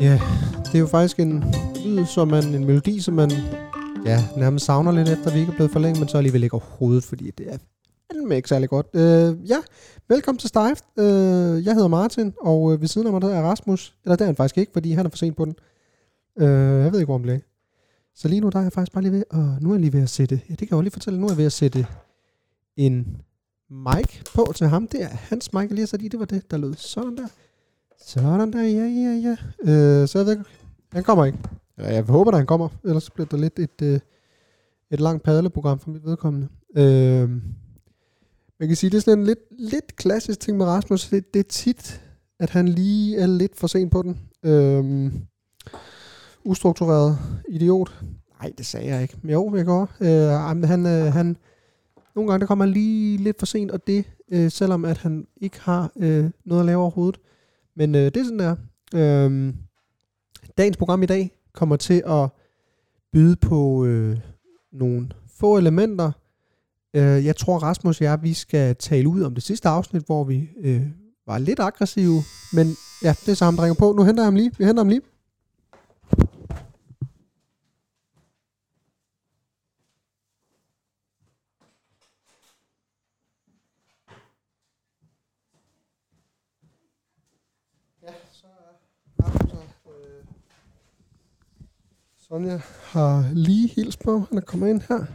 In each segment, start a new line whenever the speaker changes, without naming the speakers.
Ja, det er jo faktisk en lyd, som man, en melodi, som man ja, nærmest savner lidt efter, vi ikke er blevet forlænget, men så alligevel ikke overhovedet, fordi det er fandme ikke særlig godt. Øh, ja, velkommen til Stift. Øh, jeg hedder Martin, og øh, ved siden af mig der er Rasmus. Eller det er han faktisk ikke, fordi han er for sent på den. Øh, jeg ved ikke, hvor han blev. af. Så lige nu der er jeg faktisk bare lige ved, og nu er jeg lige ved at sætte, ja det kan jeg jo lige fortælle, nu er jeg ved at sætte en mic på til ham. Det er hans mic, jeg lige har sat i, det var det, der lød sådan der. Sådan der, ja, ja, ja. Øh, så jeg ved ikke, han kommer ikke. Eller jeg håber, at han kommer, ellers bliver der lidt et, øh, et langt padleprogram for mit vedkommende. Øh, man kan sige, det er sådan en lidt, lidt klassisk ting med Rasmus. Det, det er tit, at han lige er lidt for sent på den. Øh, ustruktureret idiot. Nej, det sagde jeg ikke. Men Jo, jeg går. Øh, ej, men han, øh, han, nogle gange der kommer han lige lidt for sent, og det, øh, selvom at han ikke har øh, noget at lave overhovedet. Men øh, det er sådan der. Øh, dagens program i dag kommer til at byde på øh, nogle få elementer. Øh, jeg tror, Rasmus og jeg, vi skal tale ud om det sidste afsnit, hvor vi øh, var lidt aggressive. Men ja, det er så ham, der ringer på. Nu henter jeg ham lige. Vi henter ham lige. Ja, så er Rasmus her. Øh, Sonja har lige hils på. Han er kommet ind her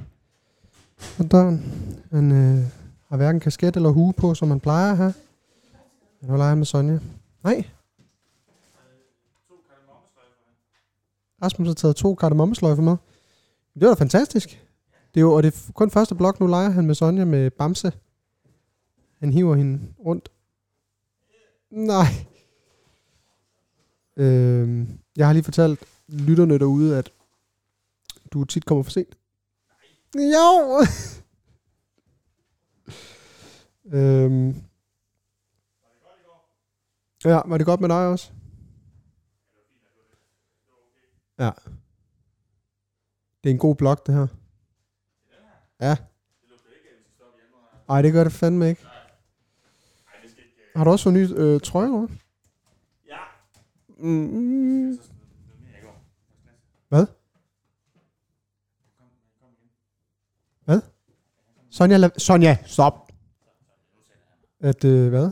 på døren. Han øh, har hverken kasket eller hue på, som han plejer her. Nu leger han med Sonja. Nej. Rasmus har taget to kardemommesløjfer med. Det var da fantastisk. Det er jo, og det er f- kun første blok, nu leger han med Sonja med Bamse. Han hiver hende rundt. Nej. Øhm, jeg har lige fortalt lytterne derude, at du tit kommer for sent. Jo! øhm. Ja, var det godt med dig også? Ja. Det er en god blog, det her. Ja. Nej, det gør det fandme ikke. Har du også fået ny øh, trøje, eller?
Ja.
Mm. Sonja, la- Sonja, stop. At, øh, hvad?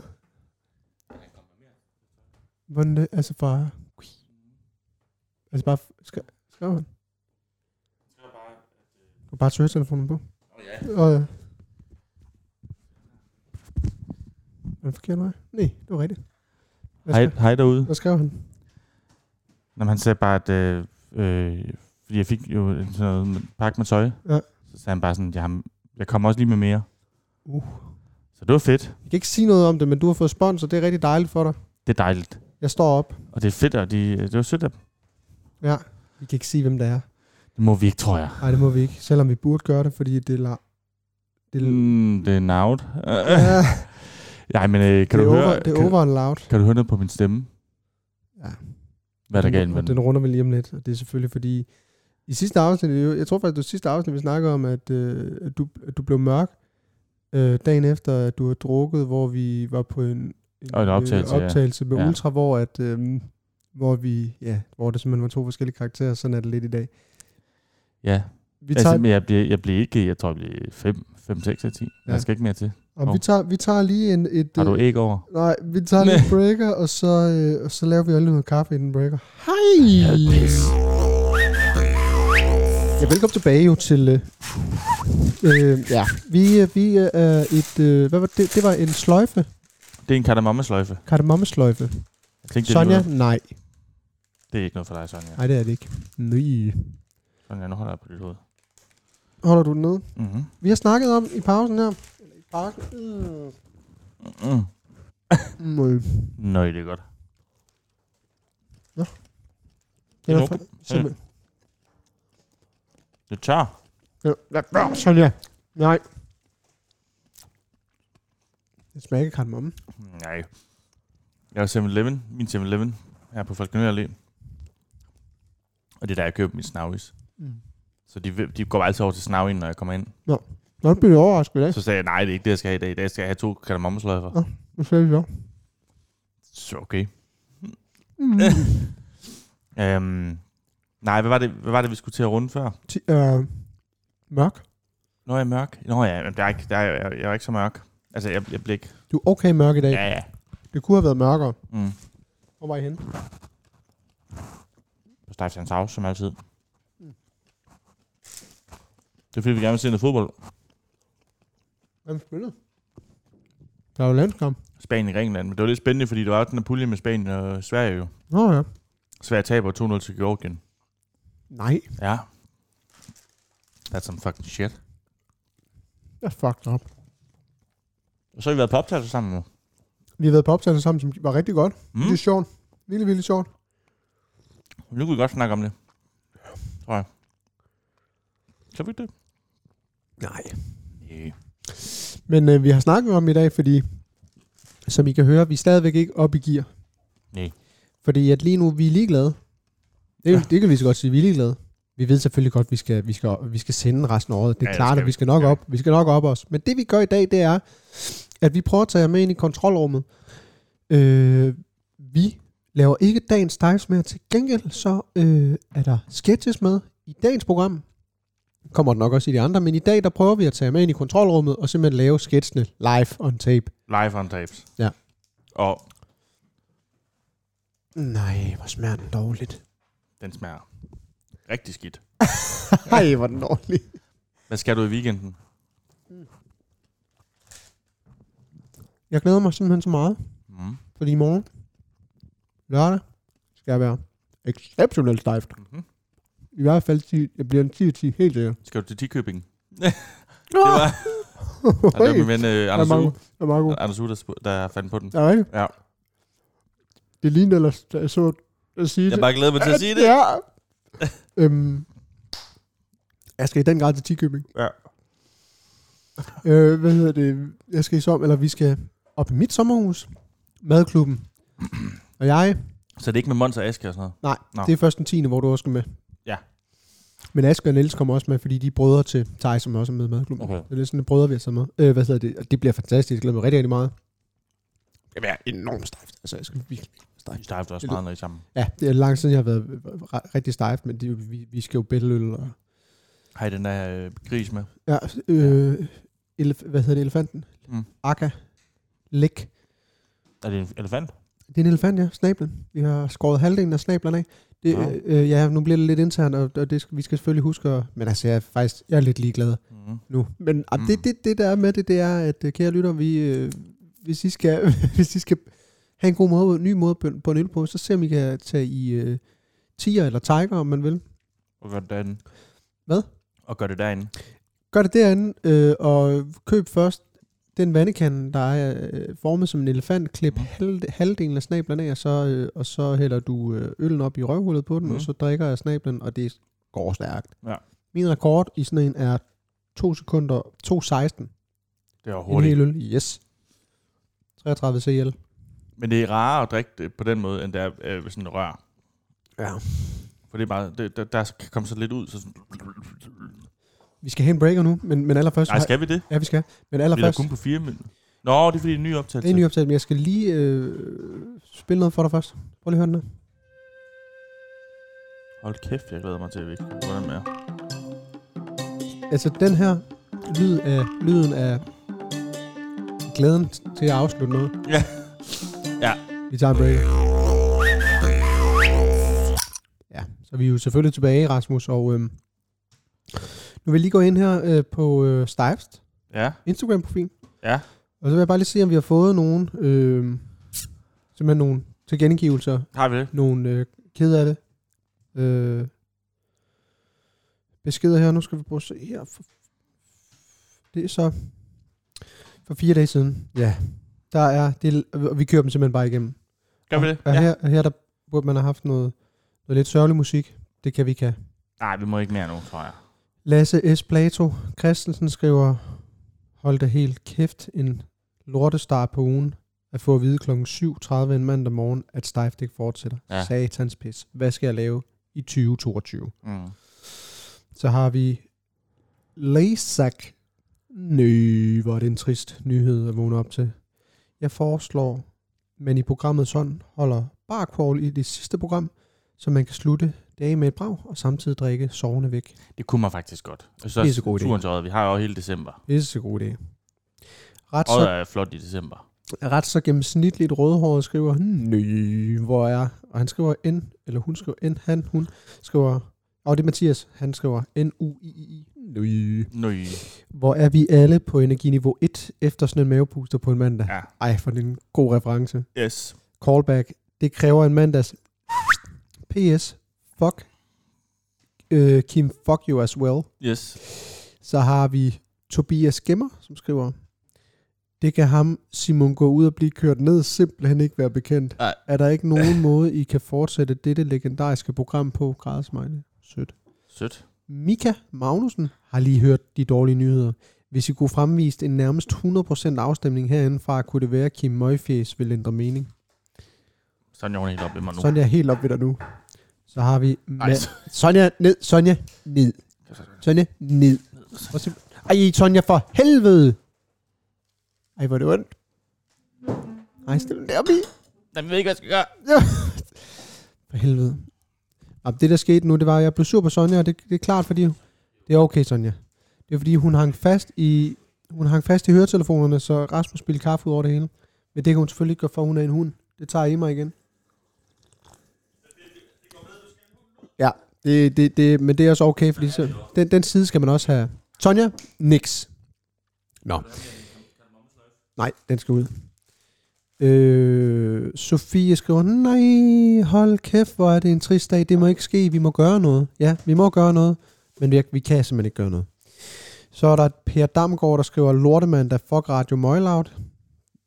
Hvordan det, altså bare... Altså bare, skal, skal han? Du kan bare søge telefonen på. Og, øh, er det forkert vej? Nej, det var rigtigt. Hvad,
Hej,
skrev,
hej derude.
hvad skrev han?
Nå, men han sagde bare, at... Øh, øh, fordi jeg fik jo en sådan noget med- pakke med tøj.
Ja.
Så sagde han bare sådan, jeg, har, jeg kommer også lige med mere.
Uh.
Så det var fedt.
Jeg kan ikke sige noget om det, men du har fået spons, og det er rigtig dejligt for dig.
Det er dejligt.
Jeg står op.
Og det er fedt, og de, det var sødt af dem.
Ja, vi kan ikke sige, hvem det er.
Det må vi ikke, tror jeg.
Nej, det må vi ikke, selvom vi burde gøre det, fordi det er... La- det er
Mm, det er navt.
ja,
Nej, men øh, kan,
det
du
er over,
høre,
det er
kan,
over and loud.
kan du høre noget på min stemme?
Ja.
Hvad er der
Den-
galt med
Den
den?
runder vi lige om lidt, og det er selvfølgelig fordi... I sidste afsnit, det er jo- jeg tror faktisk, det var sidste afsnit, vi snakkede om, at, øh, at, du, at du blev mørk øh, dagen efter, at du havde drukket, hvor vi var på en, en,
Og en
øh,
optagelse, ja.
optagelse med
Ja.
Ultra, hvor, at, øh, hvor, vi, ja, hvor det simpelthen var to forskellige karakterer. Sådan er det lidt i dag.
Ja.
Vi tager,
Altså, men jeg bliver, jeg bliver ikke, jeg tror, jeg bliver 5-6 af 10. Ja.
Ja.
Jeg skal ikke mere til.
om, vi tager, vi tager lige en, et...
Har du
øh,
æg over?
Nej, vi tager lige en breaker, og så, øh, og så laver vi alle noget kaffe i den breaker. Hej! Ja, velkommen tilbage jo til... Øh, øh, ja, vi, øh, vi øh, er et... Øh, hvad var det? Det var en sløjfe.
Det er en kardemommesløjfe.
Kardemommesløjfe.
Jeg tænkte, det, er
Sonja?
noget-
Nej.
det er ikke noget for dig, Sonja.
Nej, det er det ikke. Nej.
Sonja, nu holder jeg på dit hoved.
Holder du den nede?
Mm-hmm.
Vi har snakket om i pausen her. Eller i pausen. Mm.
Mm.
Mm.
Nøj, det er godt.
Den er
Jo.
for, simpelthen.
Det er tør.
Ja. Lad være, Sonja. Nej. Det smager ikke af kardemomme.
Nej. Jeg har 7-Eleven, min 7-Eleven, her på Falconer Allé. Og det er der, jeg køber min snavs.
Mm.
Så de, de går altid over til snavien, når jeg kommer ind.
Nå, det blev jeg overrasket i dag.
Så sagde jeg, nej, det er ikke det, jeg skal have i dag. I dag skal jeg have to kardemommesløjfer.
Nu sagde vi så.
Så okay.
Mm.
Øhm, nej, hvad var, det, hvad var det, vi skulle til at runde før?
Ti, øh, mørk.
Nå, jeg er mørk. Nå ja, men der er ikke, der er, jeg, jeg er ikke så mørk. Altså, jeg, jeg blev ikke...
Du er okay mørk i dag. Ja.
Ja, ja.
Det kunne have været mørkere.
Mm.
Hvor var I henne?
På Stejfstands House, som altid. Det er fordi, vi gerne vil se noget fodbold.
Hvem spillede? Der var jo landskamp.
Spanien i England. Men det var lidt spændende, fordi der var jo den her pulje med Spanien og Sverige jo.
Nå ja.
Sverige taber 2-0 til Georgien.
Nej.
Ja. That's some fucking shit.
Jeg fucked up.
Og så har vi været på optagelse sammen nu.
Vi har været på optagelse sammen, som var rigtig godt. Mm. Det
Mm.
er sjovt. Vildt, vildt sjovt.
Nu kunne vi godt snakke om det. Tror jeg. Så vi det.
Nej.
Yeah.
Men øh, vi har snakket om i dag, fordi som I kan høre, vi er stadigvæk ikke op i gear.
Nej.
Fordi at lige nu, vi er ligeglade. Det,
Ja.
ja. det kan vi så godt sige, vi er ligeglade. Vi ved selvfølgelig godt, vi skal, vi skal, vi skal sende resten af året. Det er
Ja,
ja,
det
klart,
skal
at
vi.
vi skal nok
Ja.
op. Vi skal nok op os. Men det vi gør i dag, det er, at vi prøver at tage jer med ind i kontrolrummet. Øh, vi laver ikke dagens stejs mere. Til gengæld så øh, er der sketches med i dagens program. Kommer det nok også i de andre, men i dag der prøver vi at tage jer med ind i kontrolrummet og simpelthen lave sketchene live on tape.
Live on tapes.
Ja.
Og
Nej, hvor smager den dårligt.
den smager rigtig skidt.
Ej, hvor den dårlig.
Hvad skal du i weekenden?
Jeg glæder mig simpelthen så meget.
Mm.
Fordi i morgen, lørdag, skal jeg være exceptionelt stejft.
Mm-hmm.
I hvert fald, 10, jeg bliver en 10 10 helt sikkert.
Skal du til Tikøbing? Det
Ah,
var, ja, det var min ven øh, Anders,
Marco.
Uge,
det er meget god.
Anders Uge, der, sp- der fandt på den.
Det er rigtigt.
Ja.
Det ligner ellers, da jeg så at sige
Jeg
det.
bare glæder mig til at sige det.
Ja. øhm, jeg skal i den grad til Tikøbing.
Ja.
Øh, hvad hedder det? Jeg skal i som, eller vi skal op i mit sommerhus. Madklubben. Og jeg,
Så det er ikke med Mons og Aske og sådan noget?
Nej,
Nå.
Nå. det er først den 10. hvor du også skal med.
Ja.
Men Asger og Niels kommer også med, fordi de er brødre til Thaj, som også er med i madklubben.
Okay.
Så det er sådan en brødre, vi har taget med. Øh, hvad hedder det? Og det bliver fantastisk. Jeg glæder mig rigtig, rigtig meget. Det skal være enormt stejft. Altså, jeg skal virkelig
Vi starter også meget, når I er sammen.
Ja, det er lang siden, jeg har været øh, re- rigtig stejft, men det, er jo- vi, vi skal jo bælteøl og...
Har I den der øh, gris med?
Ja, øh, elef- hvad hedder det? Elefanten?
Mm.
Akka. Læk.
Er det en elefant?
Det er en elefant, ja. Snablen. Vi har skåret halvdelen af snablerne af. Det,
Nå.
øh, øh, ja, nu bliver det lidt internt, og, og det skal, vi skal selvfølgelig huske at... Men altså, jeg er faktisk jeg er lidt ligeglad.
Mm.
nu. Men ah,
Mm.
det, det, det, der er med det, det er, at øh, kære lytter, vi, øh, hvis, I skal, hvis I skal have en god måde, ny måde på, på en øl på, så se om I kan tage i øh, tiger eller tiger, om man vil.
Og gør det derinde.
Hvad?
Og gør det derinde.
Gør det derinde, øh, og køb først den vandekande, der er øh, formet som en elefant, klip
Mhm.
mm. halv, halvdelen af snablerne af, og så, øh, og så hælder du øh, øllen op i røvhullet på den,
Mhm.
mm. og så drikker jeg snablen, og det går stærkt.
Ja.
Min rekord i sådan en er 2 sekunder, 2.16.
Det er
En
hurtigt.
hel øl, yes. 33 CL.
Men det er rarere at drikke det på den måde, end det er øh, ved sådan en rør.
Ja.
For det er bare, det, der, der kan komme så lidt ud. Så sådan,
Vi skal have en breaker nu, men, men allerførst...
nej, skal vi det?
Ja, vi skal. Men
Vi er da
allerførst...
kun på fire minutter. Nå, det er fordi, det er en ny optagelse.
Det er en ny optagelse, men jeg skal lige øh, spille noget for dig først. Prøv lige at høre den her.
Hold kæft, jeg glæder mig til, at vi ikke hvordan den er.
Altså, den her lyd af, lyden af glæden til at afslutte noget.
Ja. Ja.
Vi tager en breaker. Ja, så vi er jo selvfølgelig tilbage, Rasmus, og øhm, nu vil jeg lige gå ind her øh, på øh, Stivest.
Ja,
Instagram-profil.
Ja.
Og så vil jeg bare lige se, om vi har fået nogle, øh, simpelthen nogle tilkendegivelser,
har vi det?
nogle øh, ked af det. Øh, beskeder her, nu skal vi prøve at se her. For- Det er så for fire dage siden. Ja. Der er, det, og vi kører dem simpelthen bare igennem.
Gør vi det?
Og, og
Ja.
her, og her der burde man have haft noget, noget lidt sørgelig musik. Det kan vi ikke have.
Nej, vi må ikke mere nu, tror jeg.
Lasse S. Plato Christensen skriver, hold da helt kæft, en lortestar på ugen at få at vide kl. 7.30 en mandag morgen, at Steift ikke fortsætter.
Ja.
Ja. Satans pis. Hvad skal jeg lave i 2022?
Mm.
Så har vi Laysak. Nø, hvor er det en trist nyhed at vågne op til. Jeg foreslår, men i programmet sådan holder bar crawl i det sidste program, så man kan slutte dage med et brag, og samtidig drikke sovende væk.
Det kunne man faktisk godt. Og så
Pissegod idé.
turen til Odder. Vi har jo hele december.
Det er så god idé. Ret så,
Odder er flot i december.
ret så gennemsnitligt rødhåret skriver, "Hmm, nøj, hvor er jeg?" Og han skriver N, eller hun skriver N, han, hun skriver, og det er Mathias, han skriver N-U-I-I-I, nøj.
Nøj.
Hvor er vi alle på energiniveau 1 efter sådan en mavepuster på en mandag?
Ja.
Ej, for det er en god reference.
Yes.
Callback. Det kræver en mandags. PS. Fuck. Øh, Kim, fuck you as well.
Yes.
Så har vi Tobias Gemmer, som skriver, det kan ham, Simon, gå ud og blive kørt ned, simpelthen ikke være bekendt.
Nej.
Er der ikke nogen måde, I kan fortsætte dette legendariske program på? Grædesmejle. Sødt.
Sødt.
Mika Magnussen har lige hørt de dårlige nyheder. Hvis I kunne fremvise en nærmest 100% afstemning herindefra, kunne det være, at Kim Møgfjes vil ændre mening.
Sådan er hun helt oppe i mig nu.
Sonja er helt op ved dig nu. Så har vi...
Ej,
Ma-
så-
Sonja, ned. Sonja, ned. Sonja, ned. Prøv at se- Ej, Sonja, for helvede! Ej, hvor er det ondt. Ej, stil den deroppe i.
Jeg ved ikke, hvad jeg skal gøre.
For helvede. Og det, der skete nu, det var, at jeg blev sur på Sonja, og det, det er klart, fordi... Det er okay, Sonja. Det er, fordi hun hang fast i... Hun hang fast i høretelefonerne, så Rasmus spildte kaffe ud over det hele. Men det kan hun selvfølgelig ikke gøre, for hun er en hund. Det tager I mig igen. Ja, det, det, det, men det er også okay, fordi så, den, den side skal man også have. Sonja, niks. Nå. Nej, den skal ud. Øh, Sofie skriver, nej, hold kæft, hvor er det en trist dag, det må ikke ske, vi må gøre noget. Ja, vi må gøre noget, men vi, vi kan simpelthen ikke gøre noget. Så er der Per Damgaard, der skriver, lortemand, der fuck Radio Møgloud.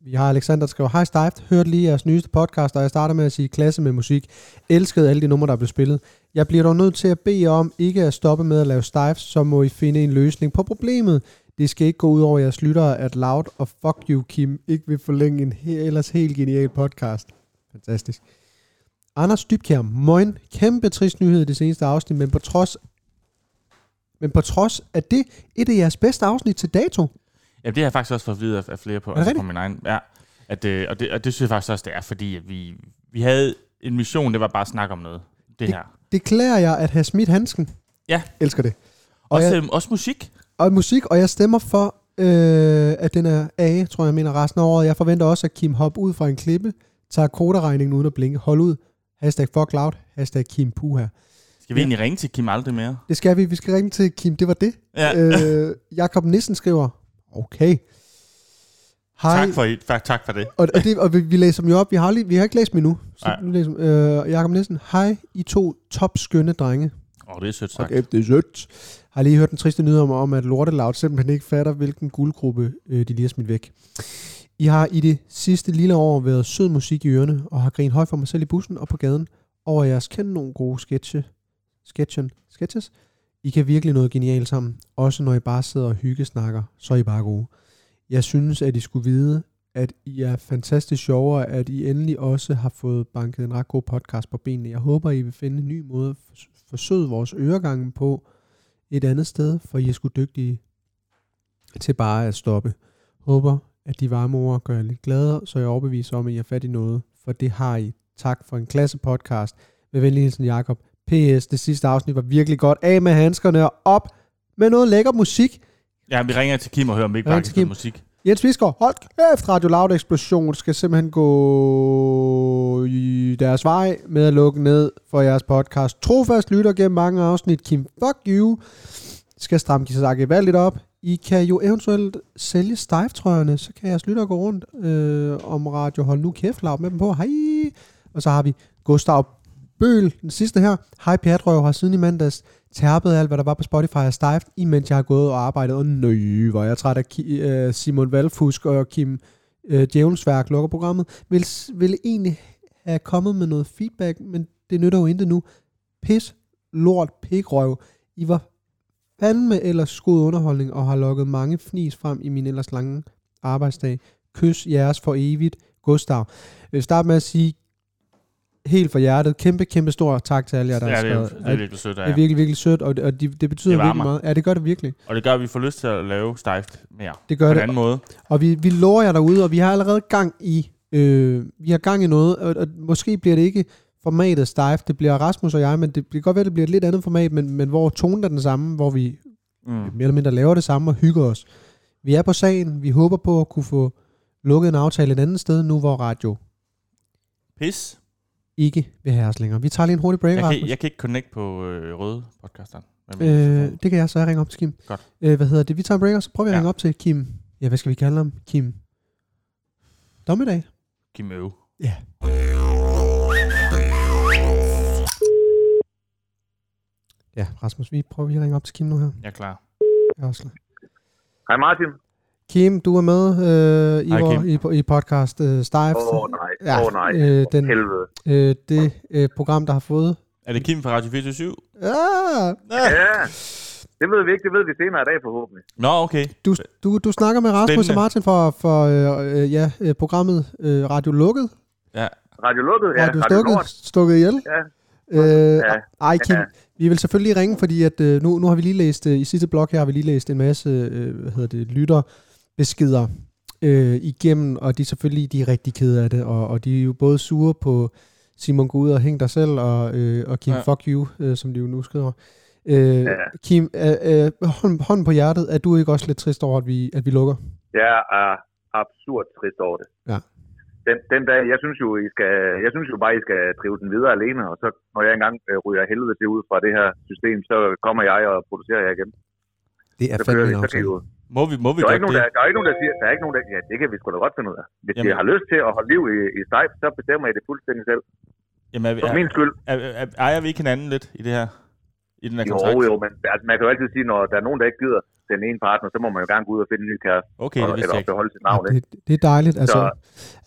Vi har Alexander, der skriver, hej Stift, hørte lige jeres nyeste podcast, og jeg starter med at sige klasse med musik. Elskede alle de numre, der blev spillet. Jeg bliver dog nødt til at bede jer om ikke at stoppe med at lave Stift, så må I finde en løsning på problemet. Det skal ikke gå ud over jeres lyttere, at Loud og Fuck You Kim ikke vil forlænge en he- ellers helt genial podcast. Fantastisk. Anders Dybkjær, moin. Kæmpe trist nyhed i det seneste afsnit, men på trods men på trods af det, et af jeres bedste afsnit til dato.
Ja, det har jeg faktisk også fået at vide af, af flere på,
det
altså på
rigtigt?
min egen. Ja. At, øh, og, det, og det synes jeg faktisk også, det er, fordi at vi, vi havde en mission, det var bare at snakke om noget. Det, det her.
Det klæder jeg at have smidt handsken.
Ja.
Elsker det. Og,
Også,
jeg,
øhm, også musik.
og musik, og jeg stemmer for, øh, at den er A, tror jeg, jeg mener resten af året. Jeg forventer også, at Kim hopper ud fra en klippe, tager koderegningen uden at blinke. Hold ud. Hashtag fuck loud. Hashtag Kim Puha.
Skal vi egentlig ringe til Kim aldrig mere?
Det skal vi. Vi skal ringe til Kim. Det var det.
Ja.
Øh, Jakob Nissen skriver, okay. Hej.
Tak for, I- tak, tak for det.
Og, og, det, og vi, vi læser dem jo op. Vi har, lige, vi har ikke læst dem endnu. Så
Nej.
nu læser, vi- øh, Jakob Nissen, hej, I to topskønne drenge.
Åh, oh, det er sødt sagt.
Okay, det er sødt. Har lige hørt den triste nyhed om, om at Lortelaut simpelthen ikke fatter, hvilken guldgruppe øh, de lige har smidt væk. I har i det sidste lille år været sød musik i ørerne, og har grint højt for mig selv i bussen og på gaden over jeres kendt nogle gode sketche. Sketchen. Sketches? I kan virkelig noget genialt sammen, også når I bare sidder og hyggesnakker, så er I bare gode. Jeg synes, at I skulle vide, at I er fantastisk sjove, og at I endelig også har fået banket en ret god podcast på benene. Jeg håber, I vil finde en ny måde at fors- forsøde vores øregange på et andet sted, for I er sgu dygtige til bare at stoppe. Håber, at de varme ord gør jer lidt gladere, så jeg overbeviser om, at I har fat i noget, for det har I. Tak for en klasse podcast. Med venlig hilsen, Jakob. P.S. Det sidste afsnit var virkelig godt. Af med handskerne og op med noget lækker musik.
Ja, vi ringer til Kim og hører, om vi ikke
Ring
bare
til
kan spille
Kim.
musik.
Jens Visgaard, hold kæft, Radio Loud Explosion skal simpelthen gå i deres vej med at lukke ned for jeres podcast. Trofast lytter gennem mange afsnit, Kim Fuck You, skal stramme Kisasaki valgt op. I kan jo eventuelt sælge stivetrøjerne, så kan jeres lytter gå rundt øh, om Radio Hold Nu Kæft Loud med dem på. Hej! Og så har vi Gustav Bøl, den sidste her. Hej Pjatrøv, har siden i mandags tærpet alt, hvad der var på Spotify og Stift, imens jeg har gået og arbejdet. Og nøj, hvor er jeg træt af Ki- øh, Simon Valfusk og Kim øh, Djævelsværk lukker programmet. Vil, vil egentlig have kommet med noget feedback, men det nytter jo intet nu. Pis, lort, pikrøv. I var fandme ellers skud underholdning og har lukket mange fnis frem i min ellers lange arbejdsdag. Kys jeres for evigt, Gustav. Jeg vil starte med at sige, helt fra hjertet, kæmpe, kæmpe stor tak til alle jer, der
Ja,
har
det, er,
skrevet.
det er virkelig sødt,
Det er
ja.
virkelig, virkelig sødt, og, og de, det betyder
Det
det
varmer.
virkelig meget. Ja, det gør det virkelig.
Og det gør, at vi får lyst til at lave stejft mere.
Det
På
gør
en
det.
anden måde.
Og vi, vi lover jer derude, og vi har allerede gang i, øh, vi har gang i noget, og, og måske bliver det ikke formatet Stive, det bliver Rasmus og jeg, men det, det kan godt være, det bliver et lidt andet format, men, men hvor tonen er den samme, hvor vi
Mm.
mere eller mindre laver det samme og hygger os. Vi er på sagen, vi håber på at kunne få lukket en aftale et andet sted, nu hvor radio
Pis.
ikke vil have os længere. Vi tager lige en hurtig break,
Jeg
Rasmus.
kan, jeg kan ikke connect på øh, røde podcasteren. Hvad mener
Øh,
du?
det kan jeg, så jeg ringer op til Kim.
Godt.
Øh, hvad hedder det? Vi tager en break, og så prøver vi at
Ja.
ringe op til Kim. Ja, hvad skal vi kalde ham? Kim. Dommedag.
Kim Øve.
Ja. Ja, Rasmus, vi prøver lige at ringe op til Kim nu her.
Jeg er klar.
Jeg er også klar.
Hej Martin.
Kim, du er med øh, i,
Hej, Kim.
vor, i, i podcast øh, Stive.
Åh oh, nej, åh ja, oh, nej.
øh, den,
Helvede.
øh, det øh, program, der har fået...
Er det Kim fra Radio 24
Ah,
Ja, det ved vi ikke, det ved vi senere i dag forhåbentlig.
Nå, okay.
du, du, du snakker med Rasmus
Spændende.
og Martin for, for øh, øh, ja, øh, programmet øh, Radio Lukket.
Ja.
Radio lukket, ja.
Radio Stukket,
Nord.
Stukket ihjel.
Ja.
Øh,
Ja.
ej, Kim,
Ja.
vi vil selvfølgelig ringe, fordi at, øh, nu, nu har vi lige læst, øh, i sidste blok her har vi lige læst en masse, øh, hvad hedder det, lytterbeskeder øh, igennem, og de er selvfølgelig de er rigtig kede af det, og, og de er jo både sure på Simon Gud og Hæng dig selv, og, øh, og Kim,
Ja.
ja. fuck you, øh, som de jo nu skriver. Øh,
Ja.
Kim, øh, øh, hånden, hånden på hjertet, er du ikke også lidt trist over, at vi, at vi lukker?
Jeg er absurd trist over det.
Ja.
Den, den dag, jeg synes jo, I skal, jeg synes jo bare, I skal drive den videre alene, og så når jeg engang øh, ryger helvede til ud fra det her system, så kommer jeg og producerer jer igen.
Det er
Så kører vi, så kan I jo.
Må vi, må vi
Der er,
godt
ikke nogen,
det?
der, der er ikke nogen, der siger, der er ikke nogen, der, ja, det kan vi sgu da godt finde ud af. Hvis Jamen. I
Jamen.
har lyst til at holde liv i, i Skype, så bestemmer I det fuldstændig selv.
Jamen, er, vi-
For
er,
min skyld.
er, er, er, ejer vi ikke hinanden lidt i det her? I den her
Jo,
kontrakt?
jo, men altså, man kan jo altid sige, når der er nogen, der ikke gider den ene partner, så må man jo gerne gå ud og finde en ny kæreste,
Okay, det
og,
vidste
eller
jeg ikke.
beholde sit navn.
det, det er dejligt. Altså,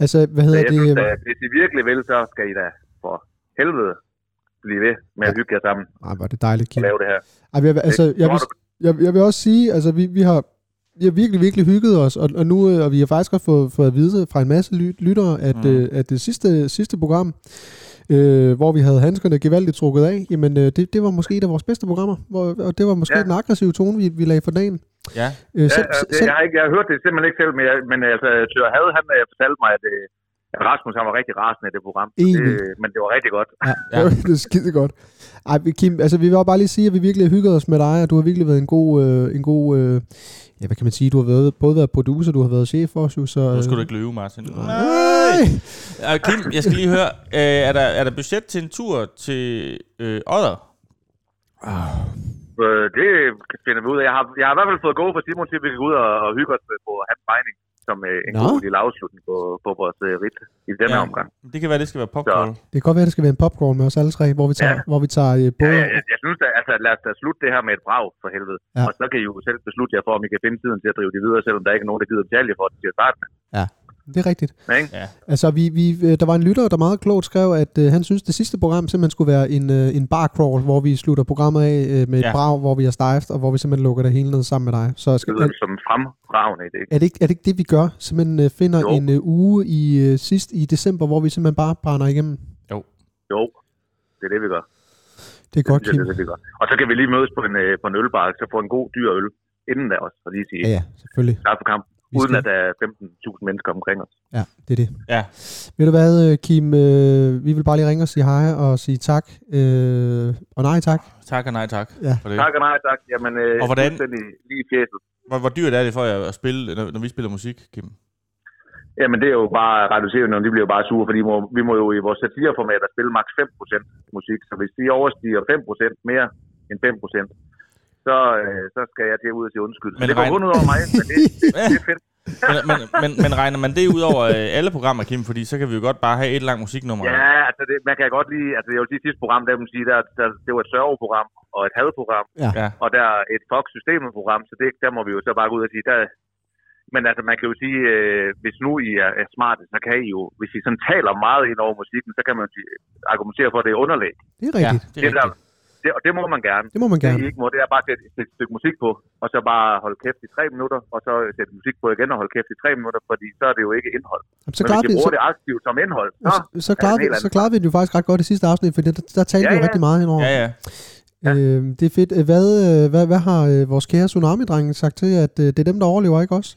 altså hvad
Så
hedder
jeg
det?
synes, at hvis I virkelig vil, så skal I da for helvede blive ved med at hygge jer sammen
Ej, hvor er det dejligt,
og
Kim.
lave det her.
Ej, men jeg, vil- altså, jeg, vil, jeg, jeg vil også sige, altså vi, vi har vi har virkelig, virkelig hygget os, og, og nu øh, og vi har faktisk også fået, fået at vide fra en masse lyt, lyttere, at,
Mm.
mm. øh, at det sidste, sidste program, øh, hvor vi havde handskerne gevaldigt trukket af, jamen øh, det, det var måske et af vores bedste programmer, hvor, og det var måske ja.
Ja.
den aggressive tone, vi, vi lagde for dagen.
Ja,
Øh,
Ja,
selv,
ja, det,
selv,
jeg, har ikke, jeg har hørt det simpelthen ikke selv, men, jeg, men altså, Tør Had, han øh, fortalte mig, at, øh, at Rasmus han var rigtig rasende i det program. Så Det,
Enig.
men det var rigtig godt.
Ja,
Ja.
ja. det er skide godt. Ej, vi- Kim, altså vi vil bare lige sige, at vi virkelig har hygget os med dig, og du har virkelig været en god, øh, en god øh, ja, hvad kan man sige, du har været, både været producer, du har været chef for os, jo, så... Øh,
nu skulle du ikke løbe, Martin.
Nej!
Og Kim, jeg skal lige høre, øh, er, der, er der budget til en tur til øh, Odder?
Øh, det finder vi ud af. Jeg har, jeg har i hvert fald fået gode fra Simon til, at vi kan gå ud og, og hygge os øh, på hans regning, som øh, en
Nå.
god lille afslutning på, på vores øh, rit i denne
Ja.
ja. omgang.
Det kan være, det skal være popcorn.
Det kan godt være, at det skal være en popcorn med os alle tre, hvor vi tager, ja. hvor vi tager øh,
Ja,
både...
ja, jeg, jeg synes da, altså lad os da slutte det her med et brag for helvede.
Ja.
Ja. Og så kan I jo selv beslutte jer for, om I kan finde tiden til at drive det videre, selvom der ikke er nogen, der gider betale jer for det til at starte med.
Det er rigtigt.
Ikke?
Ja.
Altså, vi, vi, øh, der var en lytter, der meget klogt skrev, at øh, han synes, det sidste program simpelthen skulle være en, øh, en bar crawl, hvor vi slutter programmet af øh, med et
Ja.
ja. brag, hvor vi er stejft, og hvor vi simpelthen lukker det hele ned sammen med dig. Så
Det
skal,
lyder
er,
det som en fremragende idé.
er, det ikke, er det ikke det, vi gør? Simpelthen øh, finder
Jo.
jo. en øh, uge i øh, sidst i december, hvor vi simpelthen bare brænder igennem.
Jo, det er det, vi gør.
Det er godt,
Det,
Kim.
er det, vi gør. Og så kan vi lige mødes på en, øh, på en ølbar, så få en god dyr øl inden da også, og lige sige
Ja, ja, selvfølgelig.
start på kamp,
Vi
uden
skal-
at der er 15.000 mennesker omkring os.
Ja, det er det.
Ja.
Ved du hvad, øh, Kim? Øh, vi vil bare lige ringe og sige hej og sige tak. Øh, og nej tak.
Tak og nej tak
Ja.
for det.
Tak og nej, tak. Jamen, øh,
Og hvordan-
fuldstændig Lige i fjeset.
Hvor, hvor dyrt er det for jer at spille, når, når vi spiller musik, Kim?
Jamen, det er jo bare radioserien, de bliver jo bare sure, fordi må, vi må jo i vores satireformat at spille maks 5% musik. Så hvis de overstiger 5% mere end 5%, så, øh, så skal jeg til at ud og sige undskyld. Men
Men
det går
regn-
kun ud over mig, men det, det er fedt.
Men, men, men, men regner man det ud over øh, alle programmer, Kim? Fordi så kan vi jo godt bare have et langt musiknummer.
Ja, altså det, man kan godt lide, altså jeg vil sige, sidste program, der, vil sige, der, der, det var et sørgeprogram og et hadprogram,
ja.
og der er et fuck systemet program, så det, der må vi jo så bare gå ud og sige, der, men altså, man kan jo sige, øh, hvis nu I er, er smarte, så kan I jo, hvis I sådan taler meget ind over musikken, så kan man jo sige, argumentere for, at det er underlæg.
Det er
ja
rigtigt. Ja.
det
Det,
er
der,
rigtigt.
det, og det må man gerne.
Det må man
Det,
gerne.
I ikke må, det er bare at sætte et stykke musik på, og så bare holde kæft i tre minutter, og så sætte musik på igen og holde kæft i tre minutter, fordi så er det jo ikke indhold.
Jamen, så
Så Men
klarede
hvis I
vi, så,
bruger det aktivt som indhold, så,
så, så,
er det
klarede
en
vi,
helt
så
anden-
klarede vi det jo faktisk ret godt i sidste afsnit, for der, der talte
Ja,
vi jo
ja.
rigtig meget henover.
Ja, ja.
ja.
Øh, det er fedt. Hvad, øh, hvad, hvad har øh, vores kære tsunami-drenge sagt til, at øh, det er dem, der overlever, ikke os?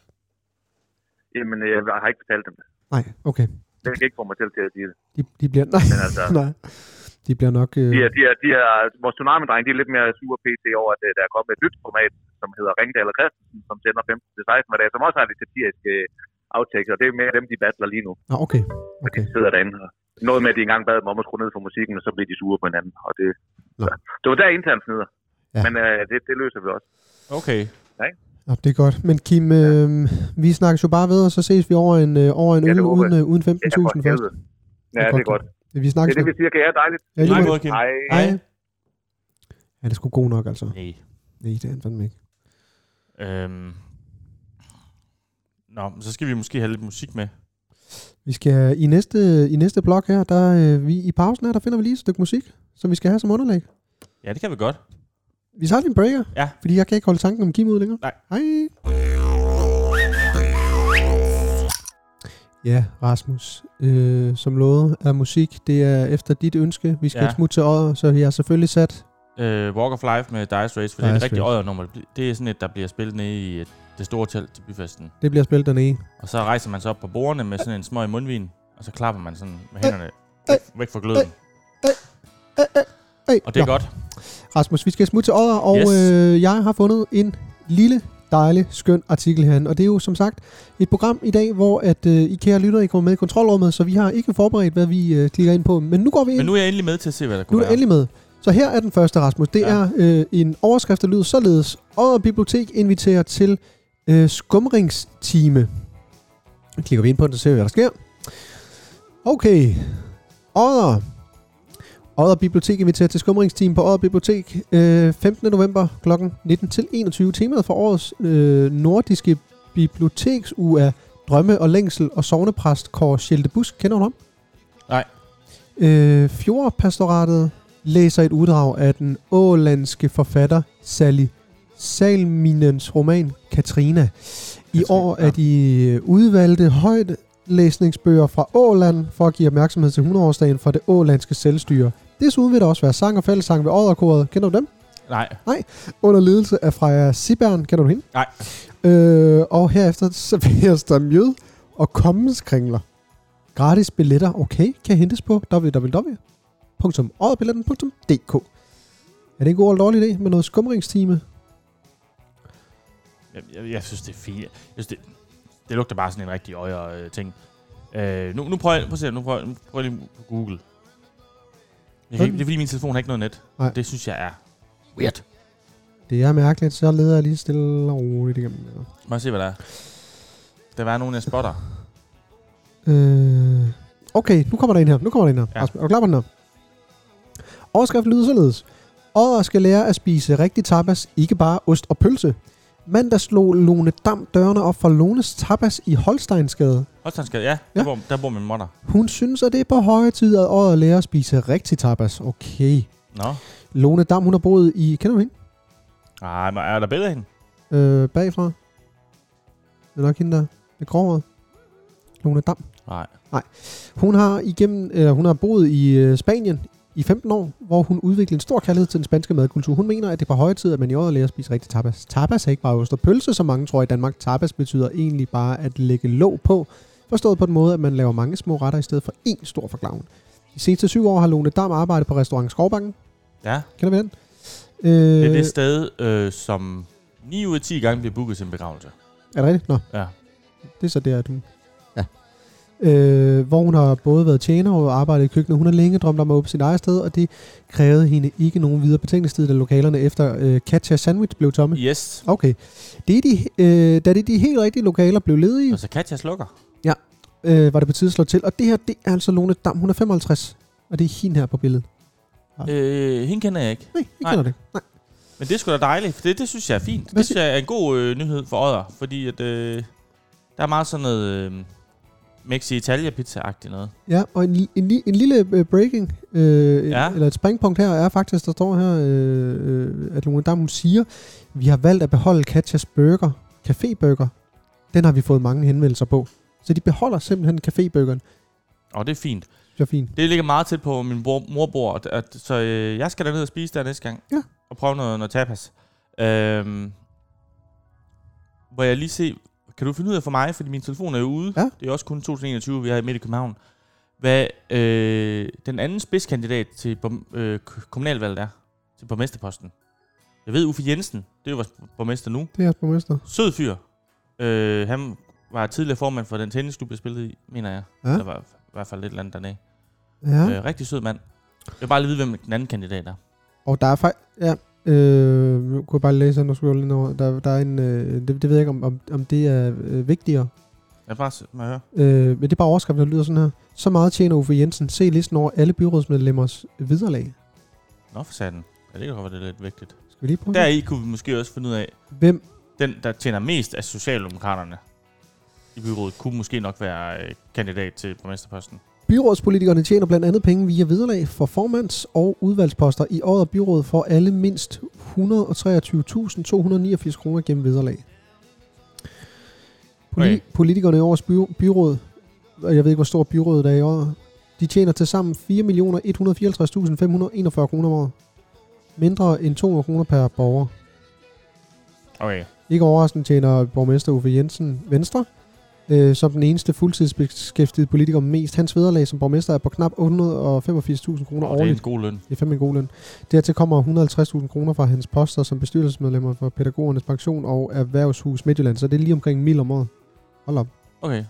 jamen, jeg har ikke fortalt dem. det.
Nej, okay.
den kan ikke få mig selv til at sige det.
De, de bliver... Nej,
Men altså,
nej. De bliver nok... Øh,
de er, de er, de er, vores tsunami-dreng, de er lidt mere sure pt. over, at øh, der er kommet et nyt format, som hedder Ringdal og Christensen, som sender 15-16 hver dag, som også har lidt satiriske øh, outtakes, og det er mere dem, de battler lige nu.
Nå, okay.
Og de
okay.
sidder derinde. Og noget med, at de engang bad dem om at skrue ned for musikken, og så blev de sure på hinanden. Og det,
Nå.
så, det var der internt snyder.
Ja.
Ja. Men øh, det, det løser vi også.
Okay.
Nå, det er godt. Men Kim, øh, vi snakkes jo bare ved, og så ses vi over en, øh, over en
Ja,
øl
det håber
uden, øh, uden 15.000
Det er for
først.
helvede. Ja, det er godt.
Vi
Det
snakkes
er det,
ved.
vi siger. Kan jeg dejligt?
Ja, lige
Nej,
måde.
måde, Kim.
Hej.
Hej. Ja, det er sgu god nok, altså.
Nej.
Nej, det er han fandme ikke.
Øhm. Nå, men så skal vi måske have lidt musik med.
Vi skal i næste, i næste blok her, der øh, vi i pausen her, der finder vi lige et stykke musik, som vi skal have som underlæg.
Ja, det kan vi godt.
Vi tager lige en breaker,
Ja.
fordi jeg kan ikke holde tanken om Kim ud længere.
Nej.
Hej. Ja, Rasmus, øh, som lovet er musik, det er efter dit ønske. Vi skal ja.
Ja.
et smut til året, så jeg har selvfølgelig sat...
Øh, Walk of Life med Dice Race, for det er et
Dire
rigtig
Straits.
øjernummer. Det er sådan et, der bliver spillet nede i øh, det store telt til byfesten.
Det bliver spillet dernede.
Og så rejser man sig op på bordene med sådan en smøg i mundvin, og så klapper man sådan med hænderne
Øh,
væk- væk fra gløden.
Hey,
Og det er godt.
Rasmus, vi skal smutte til Odder, og yes.
Yes.
øh, jeg har fundet en lille, dejlig, skøn artikel herinde. Og det er jo som sagt et program i dag, hvor at, øh, I kære lytter, I kommer med i kontrolrummet, så vi har ikke forberedt, hvad vi øh, klikker ind på. Men nu går vi ind.
Men nu er jeg endelig med til at se, hvad der
nu
kunne
er du
være.
endelig med. Så her er den første, Rasmus. Det ja.
Ja.
er øh, en overskrift, der lyder således. Odder Bibliotek inviterer til øh, skumringstime. Nu klikker vi ind på den, så ser vi, hvad der sker. Okay. Odder. Odder Bibliotek inviterer til skumringsteam på Odder Bibliotek øh, 15. november kl. 19 til 21. Temaet for årets øh, nordiske biblioteksuge er drømme og længsel og sovnepræst Kåre Schelte Busk. Kender du ham?
Nej.
Øh, Fjordpastoratet læser et uddrag af den ålandske forfatter Sally Salminens roman Katrina. I
Katrina,
år er
ja.
de øh, udvalgte højt læsningsbøger fra Åland for at give opmærksomhed til 100-årsdagen for det ålandske selvstyre. Desuden vil der også være sang og fællessang ved Odderkoret. Kender du dem?
Nej,
Under ledelse af Freja Sibern. Kender du hende?
Nej.
Øh, og herefter serveres der mjød og kommenskringler. Gratis billetter, okay, kan hentes på www.odderbilletten.dk Er det en god og dårlig idé med noget skumringstime?
jeg, jeg, jeg synes, det er fint. Jeg synes, det, det lugter bare sådan en rigtig øjer øh, ting. Øh, nu, nu prøver jeg, prøv at se, nu prøver, jeg- nu prøver jeg lige på Google. Jeg kan ikke, det er fordi, min telefon har ikke noget net.
Nej.
Det synes jeg er weird.
Det er mærkeligt, så leder jeg lige stille og roligt igennem. her.
Må jeg se, hvad der er? Der var nogen, jeg spotter.
Øh, okay, nu kommer der en her. Nu kommer der en her. Ja.
Ja.
Rasmus, er du klar på den her? Overskriften lyder således. Odder skal lære at spise rigtig tapas, ikke bare ost og pølse. Mandag slog Lone Dam dørene op for Lones Tapas i Holsteinsgade.
Holstandskade, ja.
Ja.
Der, bor, der bor min motter.
Hun synes, at det er på høje tid, at Odder lærer at spise rigtig tapas. Okay.
Nå.
Lone Dam, hun har boet i... Kender du hende?
Ej, men er der billeder af hende?
Øh, bagfra. Det er nok hende der. Det gråhåret. Lone Dam.
Nej.
Hun har igennem, eller hun har boet i øh, Spanien i 15 år, hvor hun udviklede en stor kærlighed til den spanske madkultur. Hun mener, at det er på høje tid, at man i året lærer at spise rigtig tapas. Tapas er ikke bare ost og pølse, som mange tror i Danmark. Tapas betyder egentlig bare at lægge låg på, forstået på den måde, at man laver mange små retter i stedet for én stor forklaring. De seneste syv år har Lone Dam arbejdet på restaurant Skovbanken.
Ja.
Kender vi den? Øh,
Det er det sted, øh, som 9 ud af 10 gange bliver booket til en begravelse.
er det rigtigt? Nå.
Ja.
Det er så der, du... Ja. Øh, hvor hun har både været tjener og arbejdet i køkkenet. Hun har længe drømt om at åbne sit eget sted, og det krævede hende ikke nogen videre betænkningstid, da lokalerne efter øh, Katja Sandwich blev tomme.
Yes.
Okay. Det er de, øh, da det er de helt rigtige lokaler blev ledige,
Og så Altså, Katja slukker.
øh, var det på tide at slå til. Og det her, det er altså Lone Dam. Hun er 55, og det er hende her på billedet.
Øh, hende kender jeg ikke.
Nej, ikke
Nej.
kender det. Nej.
Men det er sgu da dejligt, for det, det synes jeg er fint.
Hvad
Det synes jeg er en god øh, nyhed for Odder, fordi at, øh, der er meget sådan noget øh, Mexi-Italia-pizza-agtigt noget.
Ja, og en, li- en, li- en lille øh, breaking, øh, ja.
Ja.
eller et springpunkt her, er faktisk, der står her, øh, øh, at Lone Dam, hun siger, vi har valgt at beholde Katjas burger, caféburger. Den har vi fået mange henvendelser på. Så de beholder simpelthen caféburgeren.
Og det er fint.
Det er fint.
Det ligger meget tæt på, hvor min mor, mor bor, at, at, så øh, jeg skal derned og spise der næste gang.
Ja.
Og prøve noget, noget tapas. Øhm, må jeg lige se, kan du finde ud af for mig, fordi min telefon er jo ude.
Ja.
Det er også kun 2021, vi er midt i København. hvad øh, den anden spidskandidat til bom- øh, k- kommunalvalget er, til borgmesterposten. Jeg ved, Uffe Jensen, det er jo vores borgmester nu.
Det er jeres borgmester.
Sød fyr. Øh, han var tidligere formand for den tennisklub, jeg spillede i, mener jeg.
Ja.
Der var i hvert fald et eller andet dernede.
Ja.
Øh, rigtig sød mand. Jeg vil bare lige vide, hvem den anden kandidat er.
Og der er faktisk... Ja, øh, nu kunne jeg bare læse under scroll ind over. Der, der er en... Øh, det, det, ved jeg ikke, om, om, om det er øh, vigtigere.
Jeg vil bare s- må jeg høre.
Øh, men det er bare overskriften, der lyder sådan her. Så meget tjener Uffe Jensen. Se listen over alle byrådsmedlemmers viderlag.
Nå, for satan. Ja, det kan godt være, det er lidt vigtigt.
Skal vi lige prøve
Der i kunne vi måske også finde ud af,
det? Hvem?
den, der tjener mest af Socialdemokraterne i byrådet, kunne måske nok være øh, kandidat til borgmesterposten.
Byrådspolitikerne tjener blandt andet penge via viderlag for formands- og udvalgsposter. I året byrådet får alle mindst 123.289 kroner gennem viderlag. Poli-
Okay.
Politikerne i årets by- byråd, og jeg ved ikke, hvor stor byrådet er i år, de tjener til sammen 4.154.541 kroner om året. Mindre end 200 kroner per borger.
Okay.
Ikke overraskende tjener borgmester Uffe Jensen Venstre, øh, som den eneste fuldtidsbeskæftigede politiker mest. Hans vederlag som borgmester er på knap 885.000 kroner
Og det er en
årligt.
god løn.
Det er fandme en god løn. Dertil kommer 150.000 kroner fra hans poster som bestyrelsesmedlemmer for Pædagogernes Pension og Erhvervshus Midtjylland, så det er lige omkring mil om året. Hold op.
Okay.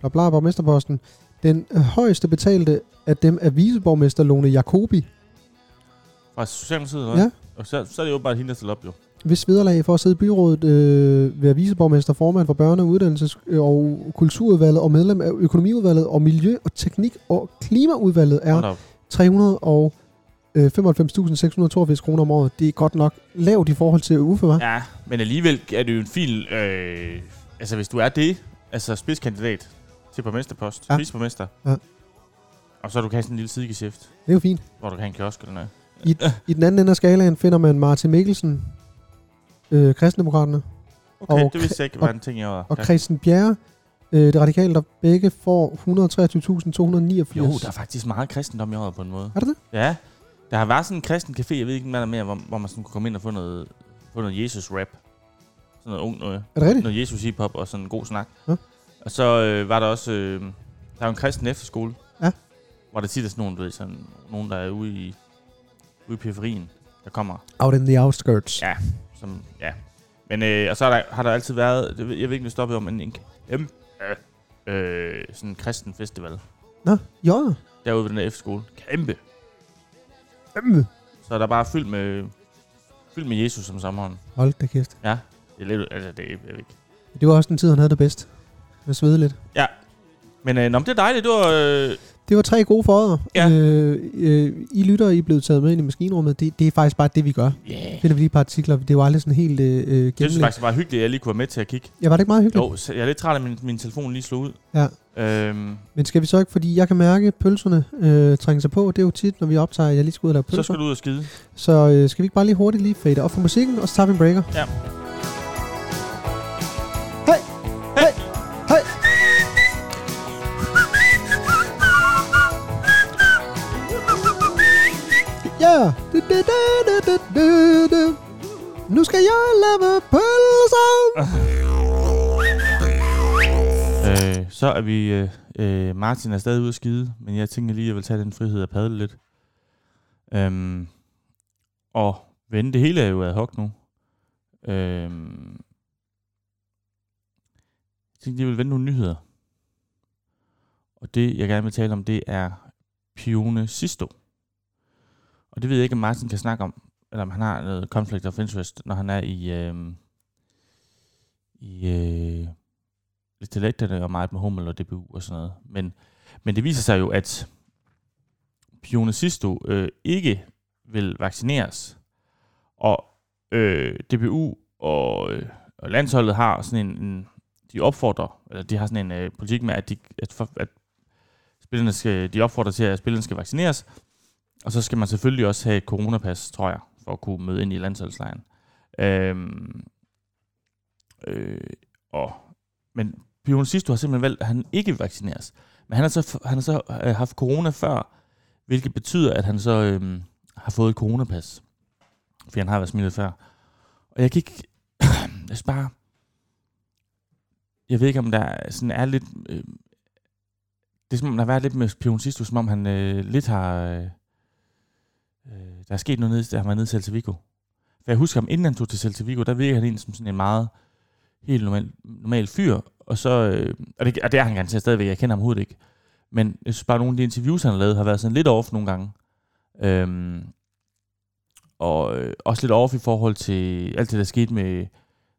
Bla bla, borgmesterposten. Den øh, højeste betalte af dem er viceborgmester Lone Jacobi,
Fra Socialdemokratiet, eller
Ja.
hvad? Og så, så er det jo bare hende, der stiller op, jo.
hvis vederlag for at sidde i byrådet, øh, være viceborgmester, formand for børne- og uddannelses- og kulturudvalget og medlem af økonomiudvalget og miljø- og teknik- og klimaudvalget er
Hold op.
395.682 kroner om året. Det er godt nok lavt i forhold til Uffe, hva'? Ja.
Ja, men alligevel er det jo en fin... Øh, altså, hvis du er det, altså spidskandidat til borgmesterpost,
Ja.
ja. spidsborgmester,
Ja.
og så du kan have sådan en lille sidegeschæft,
Det er jo fint.
hvor du kan have en kiosk eller noget.
I den anden ende af skalaen finder man Martin Mikkelsen, øh, Kristendemokraterne,
Okay,
Og
det vidste jeg ikke var en ting i året.
og Christian Bjerre, øh, det radikale, der begge får 123.289.
Jo, der er faktisk meget kristendom i året på en måde.
Er der det?
Ja. Der har været sådan en kristen café, jeg ved ikke, hvad der er mere, hvor, hvor man sådan kunne komme ind og få noget, få noget Jesus-rap. Sådan noget ung noget.
Er det rigtigt?
Noget Jesus hip-hop og sådan en god snak.
Ja.
Og så øh, var der også... Øh, der er jo en kristen efterskole.
Ja.
Hvor der tit er sådan nogen, du ved, sådan, nogen der er ude i, ude i periferien, der kommer.
Out in the outskirts.
Ja. Som, ja. Men, øh, og så er der, har der altid været... det ved- Jeg ved ikke, om det stoppede om, men en kæmpe... Øh, sådan en kristen festival.
Nå, jo.
Derude ved den der efterskole. Kæmpe.
Øhm.
Så er der bare fyldt med, fyldt med Jesus som sammenhånd.
Hold da kæft.
Ja, det er lidt, altså det er jeg ved ikke.
Det var også den tid, han havde det bedst. Jeg svede lidt.
Ja, men øh, nå, men det er dejligt, du har, øh,
Det var tre gode forræder.
Ja.
Øh, øh, I lytter, I er blevet taget med ind i maskinrummet. Det, det er faktisk bare det, vi gør.
yeah.
Finder vi lige et par artikler. Det var aldrig sådan helt øh, øh,
jeg synes
gennemlæst.
faktisk, det var hyggeligt, at jeg lige kunne være med til at kigge.
Ja, var det ikke meget hyggeligt?
Jo, så jeg er lidt træt af, at min, min telefon lige slog ud.
Ja.
Øhm,
Men skal vi så ikke, fordi jeg kan mærke, at pølserne øh, trænger sig på. Det er jo tit, når vi optager, at jeg lige skal ud og lave
så
pølser.
skal du ud og skide.
Så øh, skal vi ikke bare lige hurtigt lige fade op for musikken, og så tager vi en breaker.
Ja.
Hey! Hey! Hey! Ja! Du, du, du, du, du, du, du. Nu skal jeg lave pølser!
Øh, så er vi... Øh, øh, Martin er stadig ude at skide, men jeg tænker lige, at jeg vil tage den frihed og padle lidt. Øhm, og vende det hele er jo ad hoc nu. Øhm, jeg tænkte, jeg vil vende nogle nyheder. Og det, jeg gerne vil tale om, det er Pione Sisto. Og det ved jeg ikke, om Martin kan snakke om, eller om han har noget conflict of interest, når han er i, øhm, i øh, dialekterne og meget med Hummel og DBU og sådan noget. Men, men det viser sig jo, at Pione Sisto øh, ikke vil vaccineres. Og øh, DBU og, øh, og landsholdet har sådan en, en de opfordrer, eller de har sådan en øh, politik med, at, de, at, for, at spillerne skal, de opfordrer til, at spillerne skal vaccineres. Og så skal man selvfølgelig også have et coronapas, tror jeg, for at kunne møde ind i landsholdslejren. Øhm, øh, og men Bjørn Sisto har simpelthen valgt, at han ikke vaccineres. Men han har så, han har så øh, haft corona før, hvilket betyder, at han så øh, har fået et coronapas. Fordi han har været smittet før. Og jeg kan ikke... jeg synes bare... Jeg ved ikke, om der sådan er lidt... Øh, Det er som om, der har været lidt med Pion Sisto, som om han øh, lidt har... Øh, øh, der er sket noget, ned, der har været nede i Celta Vigo. For jeg husker ham, inden han tog til Celta Vigo, der virkede han egentlig som sådan en meget helt normal, normal fyr. Og, så, øh, og, det, og det er han garanteret stadigvæk, jeg kender ham overhovedet ikke. Men jeg synes bare, at nogle af de interviews, han har lavet, har været sådan lidt off nogle gange. Øhm, og øh, også lidt off i forhold til alt det, der skete med,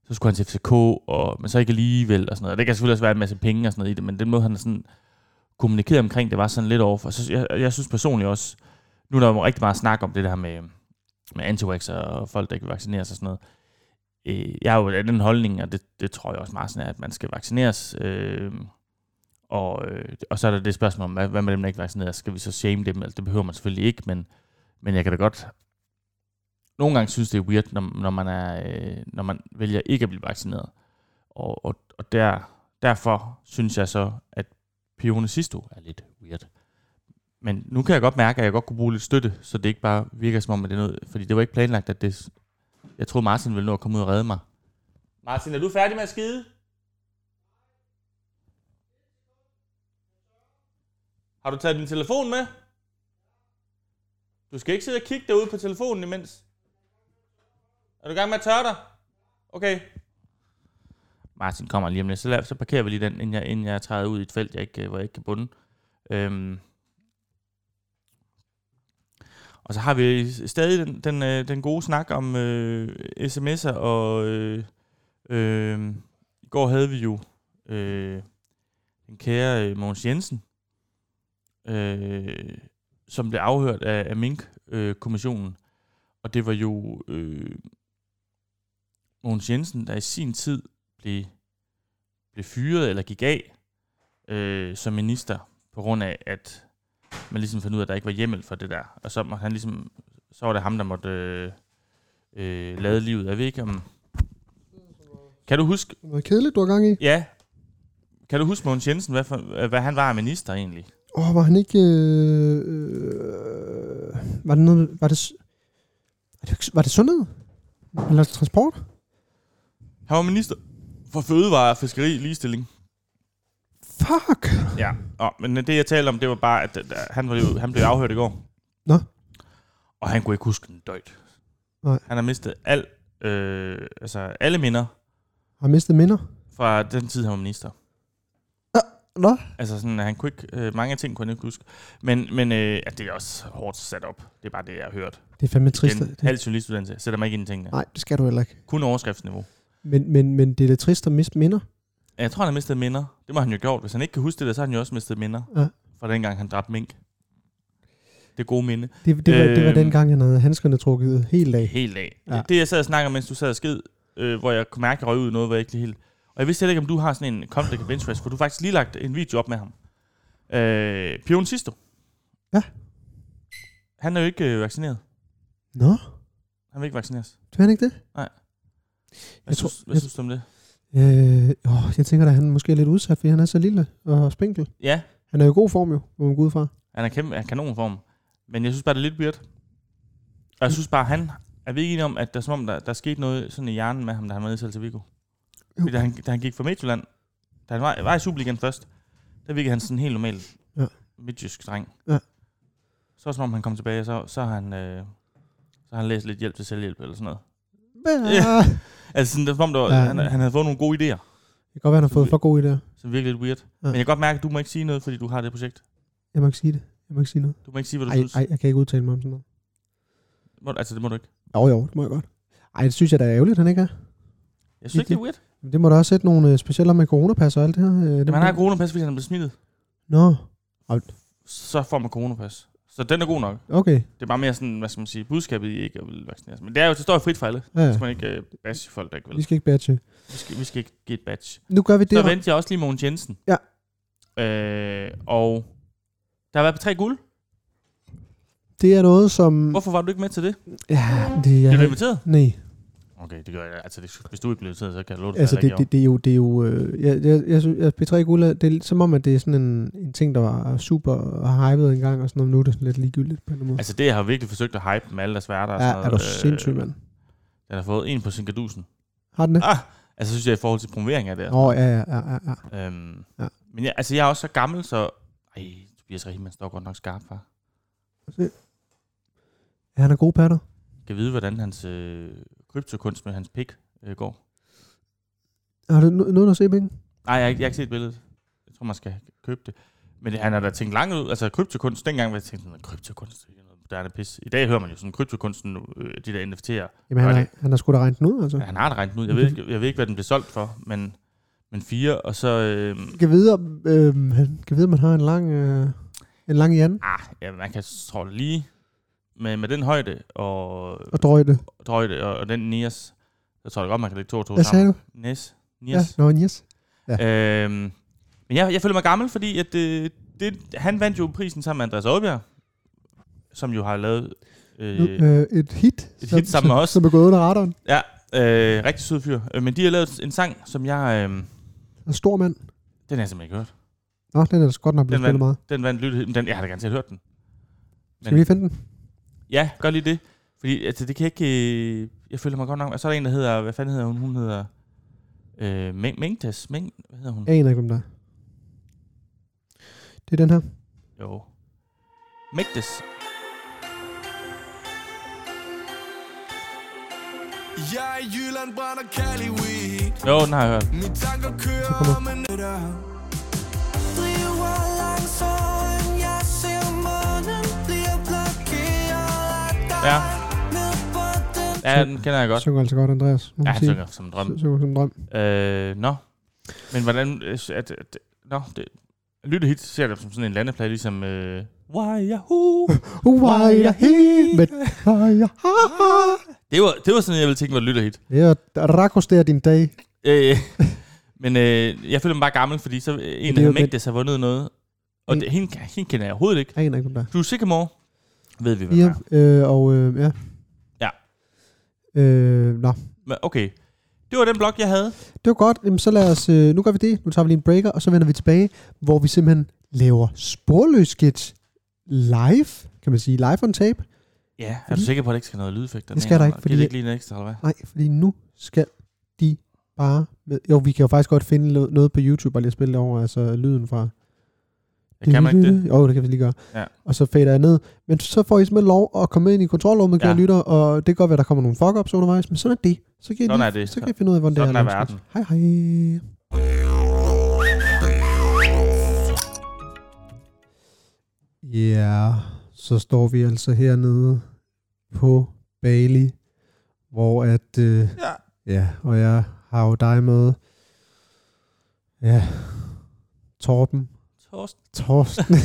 så skulle han til FCK, og, men så ikke alligevel, og sådan noget. Og det kan selvfølgelig også være en masse penge og sådan noget i det, men den måde, han sådan kommunikerede omkring det, var sådan lidt off. Og så, jeg, jeg synes personligt også, nu er der jo rigtig meget snak om det der med, med antivaxxer og folk, der ikke vil vaccinere sig og sådan noget. Øh, jeg har jo af den holdning, og det, det tror jeg også meget sådan er, at man skal vaccineres. Øh, og, øh, og så er der det spørgsmål om, hvad, hvad med dem, der ikke er vaccineret? Skal vi så shame dem? Altså, det behøver man selvfølgelig ikke, men, men jeg kan da godt nogle gange synes, det er weird, når, når, man, er, øh, når man vælger ikke at blive vaccineret. Og, og, og der, derfor synes jeg så, at Pione Sisto er lidt weird. Men nu kan jeg godt mærke, at jeg godt kunne bruge lidt støtte, så det ikke bare virker som om, at det er noget... Fordi det var ikke planlagt, at det... Jeg troede, Martin ville nå at komme ud og redde mig. Martin, er du færdig med at skide? Har du taget din telefon med? Du skal ikke sidde og kigge derude på telefonen imens. Er du i gang med at tørre dig? Okay. Martin kommer lige om lidt, så, lad, så parkerer vi lige den, inden jeg, inden jeg træder ud i et felt, jeg ikke, hvor jeg ikke kan bunde. Øhm. Og så har vi stadig den, den, øh, den gode snak om øh, sms'er, og øh, øh, i går havde vi jo øh, den kære øh, Mogens Jensen, øh, som blev afhørt af, af Mink-kommissionen. Og det var jo øh, Mogens Jensen, der i sin tid blev, blev fyret eller gik af øh, som minister, på grund af, at man ligesom fandt ud af, at der ikke var hjemmel for det der. Og så, måtte han ligesom, så var det ham, der måtte øh, øh, lade livet. Jeg ved ikke om... Kan du huske...
Det var kedeligt, du har gang i.
Ja. Kan du huske Mogens Jensen, hvad, for, øh, hvad han var af minister egentlig?
Åh, oh, var han ikke... Øh, øh, var det noget... Var det, s- var det, var det sundhed? Eller transport?
Han var minister for fødevare, fiskeri, ligestilling.
Fuck!
Ja, og, men det jeg talte om, det var bare, at, at han, var, jo- han blev afhørt i går.
Nå.
Og han kunne ikke huske en døjt.
Nej.
Han har mistet al, øh, altså alle minder
Har mistet minder?
fra den tid, han var minister.
Nå.
Altså sådan, at han kunne ikke, øh, mange af ting kunne han ikke huske. Men, men øh, at det er også hårdt sat op. Det er bare det, jeg har hørt.
Det er fandme trist.
Den
at-
halv journalistuddannelse sætter mig ikke ind i tingene.
Nej, det skal du heller ikke.
Kun overskriftsniveau.
Men, men, men det er da trist at miste minder.
Jeg tror, han har mistet minder. Det må han jo gjort. Hvis han ikke kan huske det, der, så har han jo også mistet minder.
Ja.
Fra dengang han dræbte mink. Det gode minde.
Det, det, var, det var
Øhm.
den gang, han havde handskerne trukket helt af.
Helt af.
Ja.
Ja. Det, jeg sad og snakkede om, mens du sad og skid, øh, hvor jeg kunne mærke, at jeg røg ud i noget, hvor jeg ikke lige helt... Og jeg vidste heller ikke, om du har sådan en conflict of interest, for du har faktisk lige lagt en video op med ham. Øh, Pion Sisto.
Ja.
Han er jo ikke øh, vaccineret.
Nå,
Han vil ikke vaccineres.
det var han ikke det?
Hvad,
Jeg
jeg
tror-
synes, tror, hvad
jeg-
synes du om det?
Øh, åh, jeg tænker da, han måske er lidt udsat, fordi han er så lille og spinkel.
Ja,
Han er jo i god form jo, må man gå ud fra.
han er kæmpe han er kanonform. Men jeg synes bare, det er lidt weird. Og jeg synes bare, han... Er vi ikke enige om, at der, er som om der, der skete noget sådan i hjernen med ham, da han var nede i Celta Vigo? Fordi da han, da han gik fra Midtjylland, da han var, var i Superligaen først, der virkede han sådan en helt normal
Ja.
ja. midtjysk dreng.
Ja.
Så som om han kom tilbage, så, så har han... Øh, så har han læst lidt hjælp til selvhjælp eller sådan noget.
Ja.
Ja. Altså sådan, det er, som om, der, var-
Ja.
han, han havde fået nogle gode idéer,
Det kan godt være, han har fået for gode idéer.
som virkelig lidt weird. Men jeg kan godt mærke, at du må ikke sige noget, fordi du har det projekt.
Jeg må ikke sige det. Jeg må ikke sige noget.
Du må ikke sige, hvad du
Ej,
synes.
ej, jeg kan ikke udtale mig om sådan noget.
Må, du- altså, det må du ikke.
Jo, jo, det må jeg godt. Ej, det synes jeg da er ærgerligt, han ikke er.
Jeg synes ikke, det er weird.
Men det må da også sætte nogle øh, specialer med coronapas og alt det her. Øh, det
Jamen, han
må-
har coronapas, fordi han blev smittet.
Nå,
Så får man coronapas. Så den er god nok.
okay.
Det er bare mere sådan, hvad skal man sige, budskabet i ikke at ville vaccineres. Men det er jo, det står jo frit for alle.
Ja,
Så
ja.
skal man ikke øh, bashe folk, der ikke vil.
Vi skal ikke batche.
Vi skal, vi skal ikke give et badge.
Nu gør vi det.
Så
her.
vendte jeg også lige Mogens Jensen.
Ja.
Øh, og der har været på tre guld.
Mm. Det er noget, som...
Hvorfor var du ikke med til det?
Ja, det er...
Ja. Blev du inviteret?
Nej,
Okay, det gør jeg. Altså, det, hvis du ikke blev inviteret, så kan jeg love dig,
altså
at
det,
jeg
det, det, er jo... Det er jo øh, jeg, jeg, jeg, synes, at P3 Guld, er- det er lidt som om, at det er sådan en, en ting, der var super hyped engang, og sådan noget. Nu er det sådan lidt ligegyldigt på en eller anden måde.
Altså, det jeg har jeg virkelig forsøgt at hype med alle deres værter. og
ja,
sådan noget.
er du
Øh,
sindssyg, mand.
Den har fået en på sin gadusen.
Har den det?
Ah, altså, synes jeg i forhold til promovering af det.
Nå, ja, ja, ja, ja, ja.
Øhm,
Ja.
ja. Men jeg, altså, jeg er også så gammel, så Ej, Tobias Rahim, han står godt nok skarp, far.
Ja, han er gode patter.
Kan vide, hvordan hans øh, kryptokunst med hans pik øh, går.
Har du no- noget at se, Bing?
Nej, jeg, har ikke- jeg har ikke set billedet. Jeg tror, man skal købe det. Men han har da tænkt langt ud. Altså, kryptokunst, dengang var jeg tænkt sådan, kryptokunst, det er noget moderne pis. I dag hører man jo sådan, kryptokunsten, øh, de der NFT'er,
Jamen, han,
Nej,
er, han har sgu da regnet den ud, altså.
Ja, han har det regnet ud. Jeg ved, ikke, jeg ved ikke, hvad den blev solgt for, men, men fire, og så... Øh,
Jeg kan vide, om, øh, han- kan vide, om man har en lang, øh, en lang Jan
ah, ja, man kan tror det lige med, med den højde og,
og drøjte.
og drøjde og, og den Nias, så tror jeg godt, man kan lægge to og to
Hvad sagde
sammen.
du?
Næs.
Ja,
Nias.
nå, en yes.
Ja. Øhm, men jeg, jeg føler mig gammel, fordi at, øh, det, han vandt jo prisen sammen med Andreas Aabjerg, som jo har lavet...
Nu,
Øh,
øh, et hit,
et hit sammen med os.
som er gået under radaren.
ja, øh, rigtig sød fyr. Øh, Men de har lavet en sang, som jeg... Øh,
En stor mand.
den har jeg simpelthen ikke hørt.
Nå, den er da godt nok blevet
Den
spillet meget.
Den vandt lyttet. Den, jeg har da gerne hørt den.
Skal vi lige finde den?
Mm. Ja, gør lige det. Fordi altså, det kan ikke... Øh, jeg føler mig godt nok... Og så er der en, der hedder... Hvad fanden hedder hun? Hun hedder... Øh, Meng, Mengtas. Meng, hvad hedder hun?
Jeg aner ikke, hvem der er. Det er den her.
Jo. Mengtas.
Jeg er i Jylland, brænder Cali weed
Jo, den har jeg hørt.
Mine tanker kører
kommer.
om en etter Driver langsomt, jeg ser månen Bliver blokeret af dig
Ja.
Ned på den
Ja, den kender jeg godt.
Synger altså godt, Andreas. må
Ja,
man
han
sige.
synger som en drøm.
Sy- Synger som en drøm.
Øh, nå. Men hvordan... øh, At, at, nå, det, Lytte hit ser det som sådan en landeplade, ligesom... Øh, Why, yahoo!
Uh, why er he- med- why er- ha, ha.
det, var, det var sådan, jeg ville tænke, var lytte hit.
Det er Rakos, det er din dag.
Øh, men øh, jeg føler mig bare gammel, fordi så øh, en,
er
der
jo
hedder
det.
Mægtes, har vundet noget. Og
Mm.
det, hende, kan- hende kender jeg overhovedet ikke.
Jeg aner ikke, hvem der er.
Du er Sycamore, ved vi, hvad
Ja,
yeah.
øh, og øh, ja.
Ja.
Øh, nå.
Men okay, det var den blog, jeg havde.
Det var godt. Jamen, så lad os, øh, nu gør vi det. Nu tager vi lige en breaker, og så vender vi tilbage, hvor vi simpelthen laver sporløs sketch live, kan man sige, live on tape.
Ja, er
Fordi-
du sikker på, at det ikke skal noget lydeffekt?
Det skal der ikke,
fordi...
fordi-
det ikke lige en ekstra, eller hvad?
Nej, fordi nu skal de bare med. Jo, vi kan jo faktisk godt finde lo- noget på YouTube og lige spille det over, altså lyden fra...
Ja, kan man ikke det?
Jo, det kan vi lige gøre.
Ja.
Og så fader jeg ned. Men så får I simpelthen lov at komme ind i kontrolrummet, kære
Ja.
lytter, og det kan godt være, der kommer nogle fuck-ups undervejs, men sådan er det. Så kan I,
Sådan
lige,
er det.
så kan I finde ud af, hvordan det er.
Sådan er
at lave sketch. Hej hej. Ja, yeah, så står vi altså hernede på Bali, hvor at, øh,
Ja.
ja, og jeg har jo dig med, ja, Torben,
Torsten.
Torsten,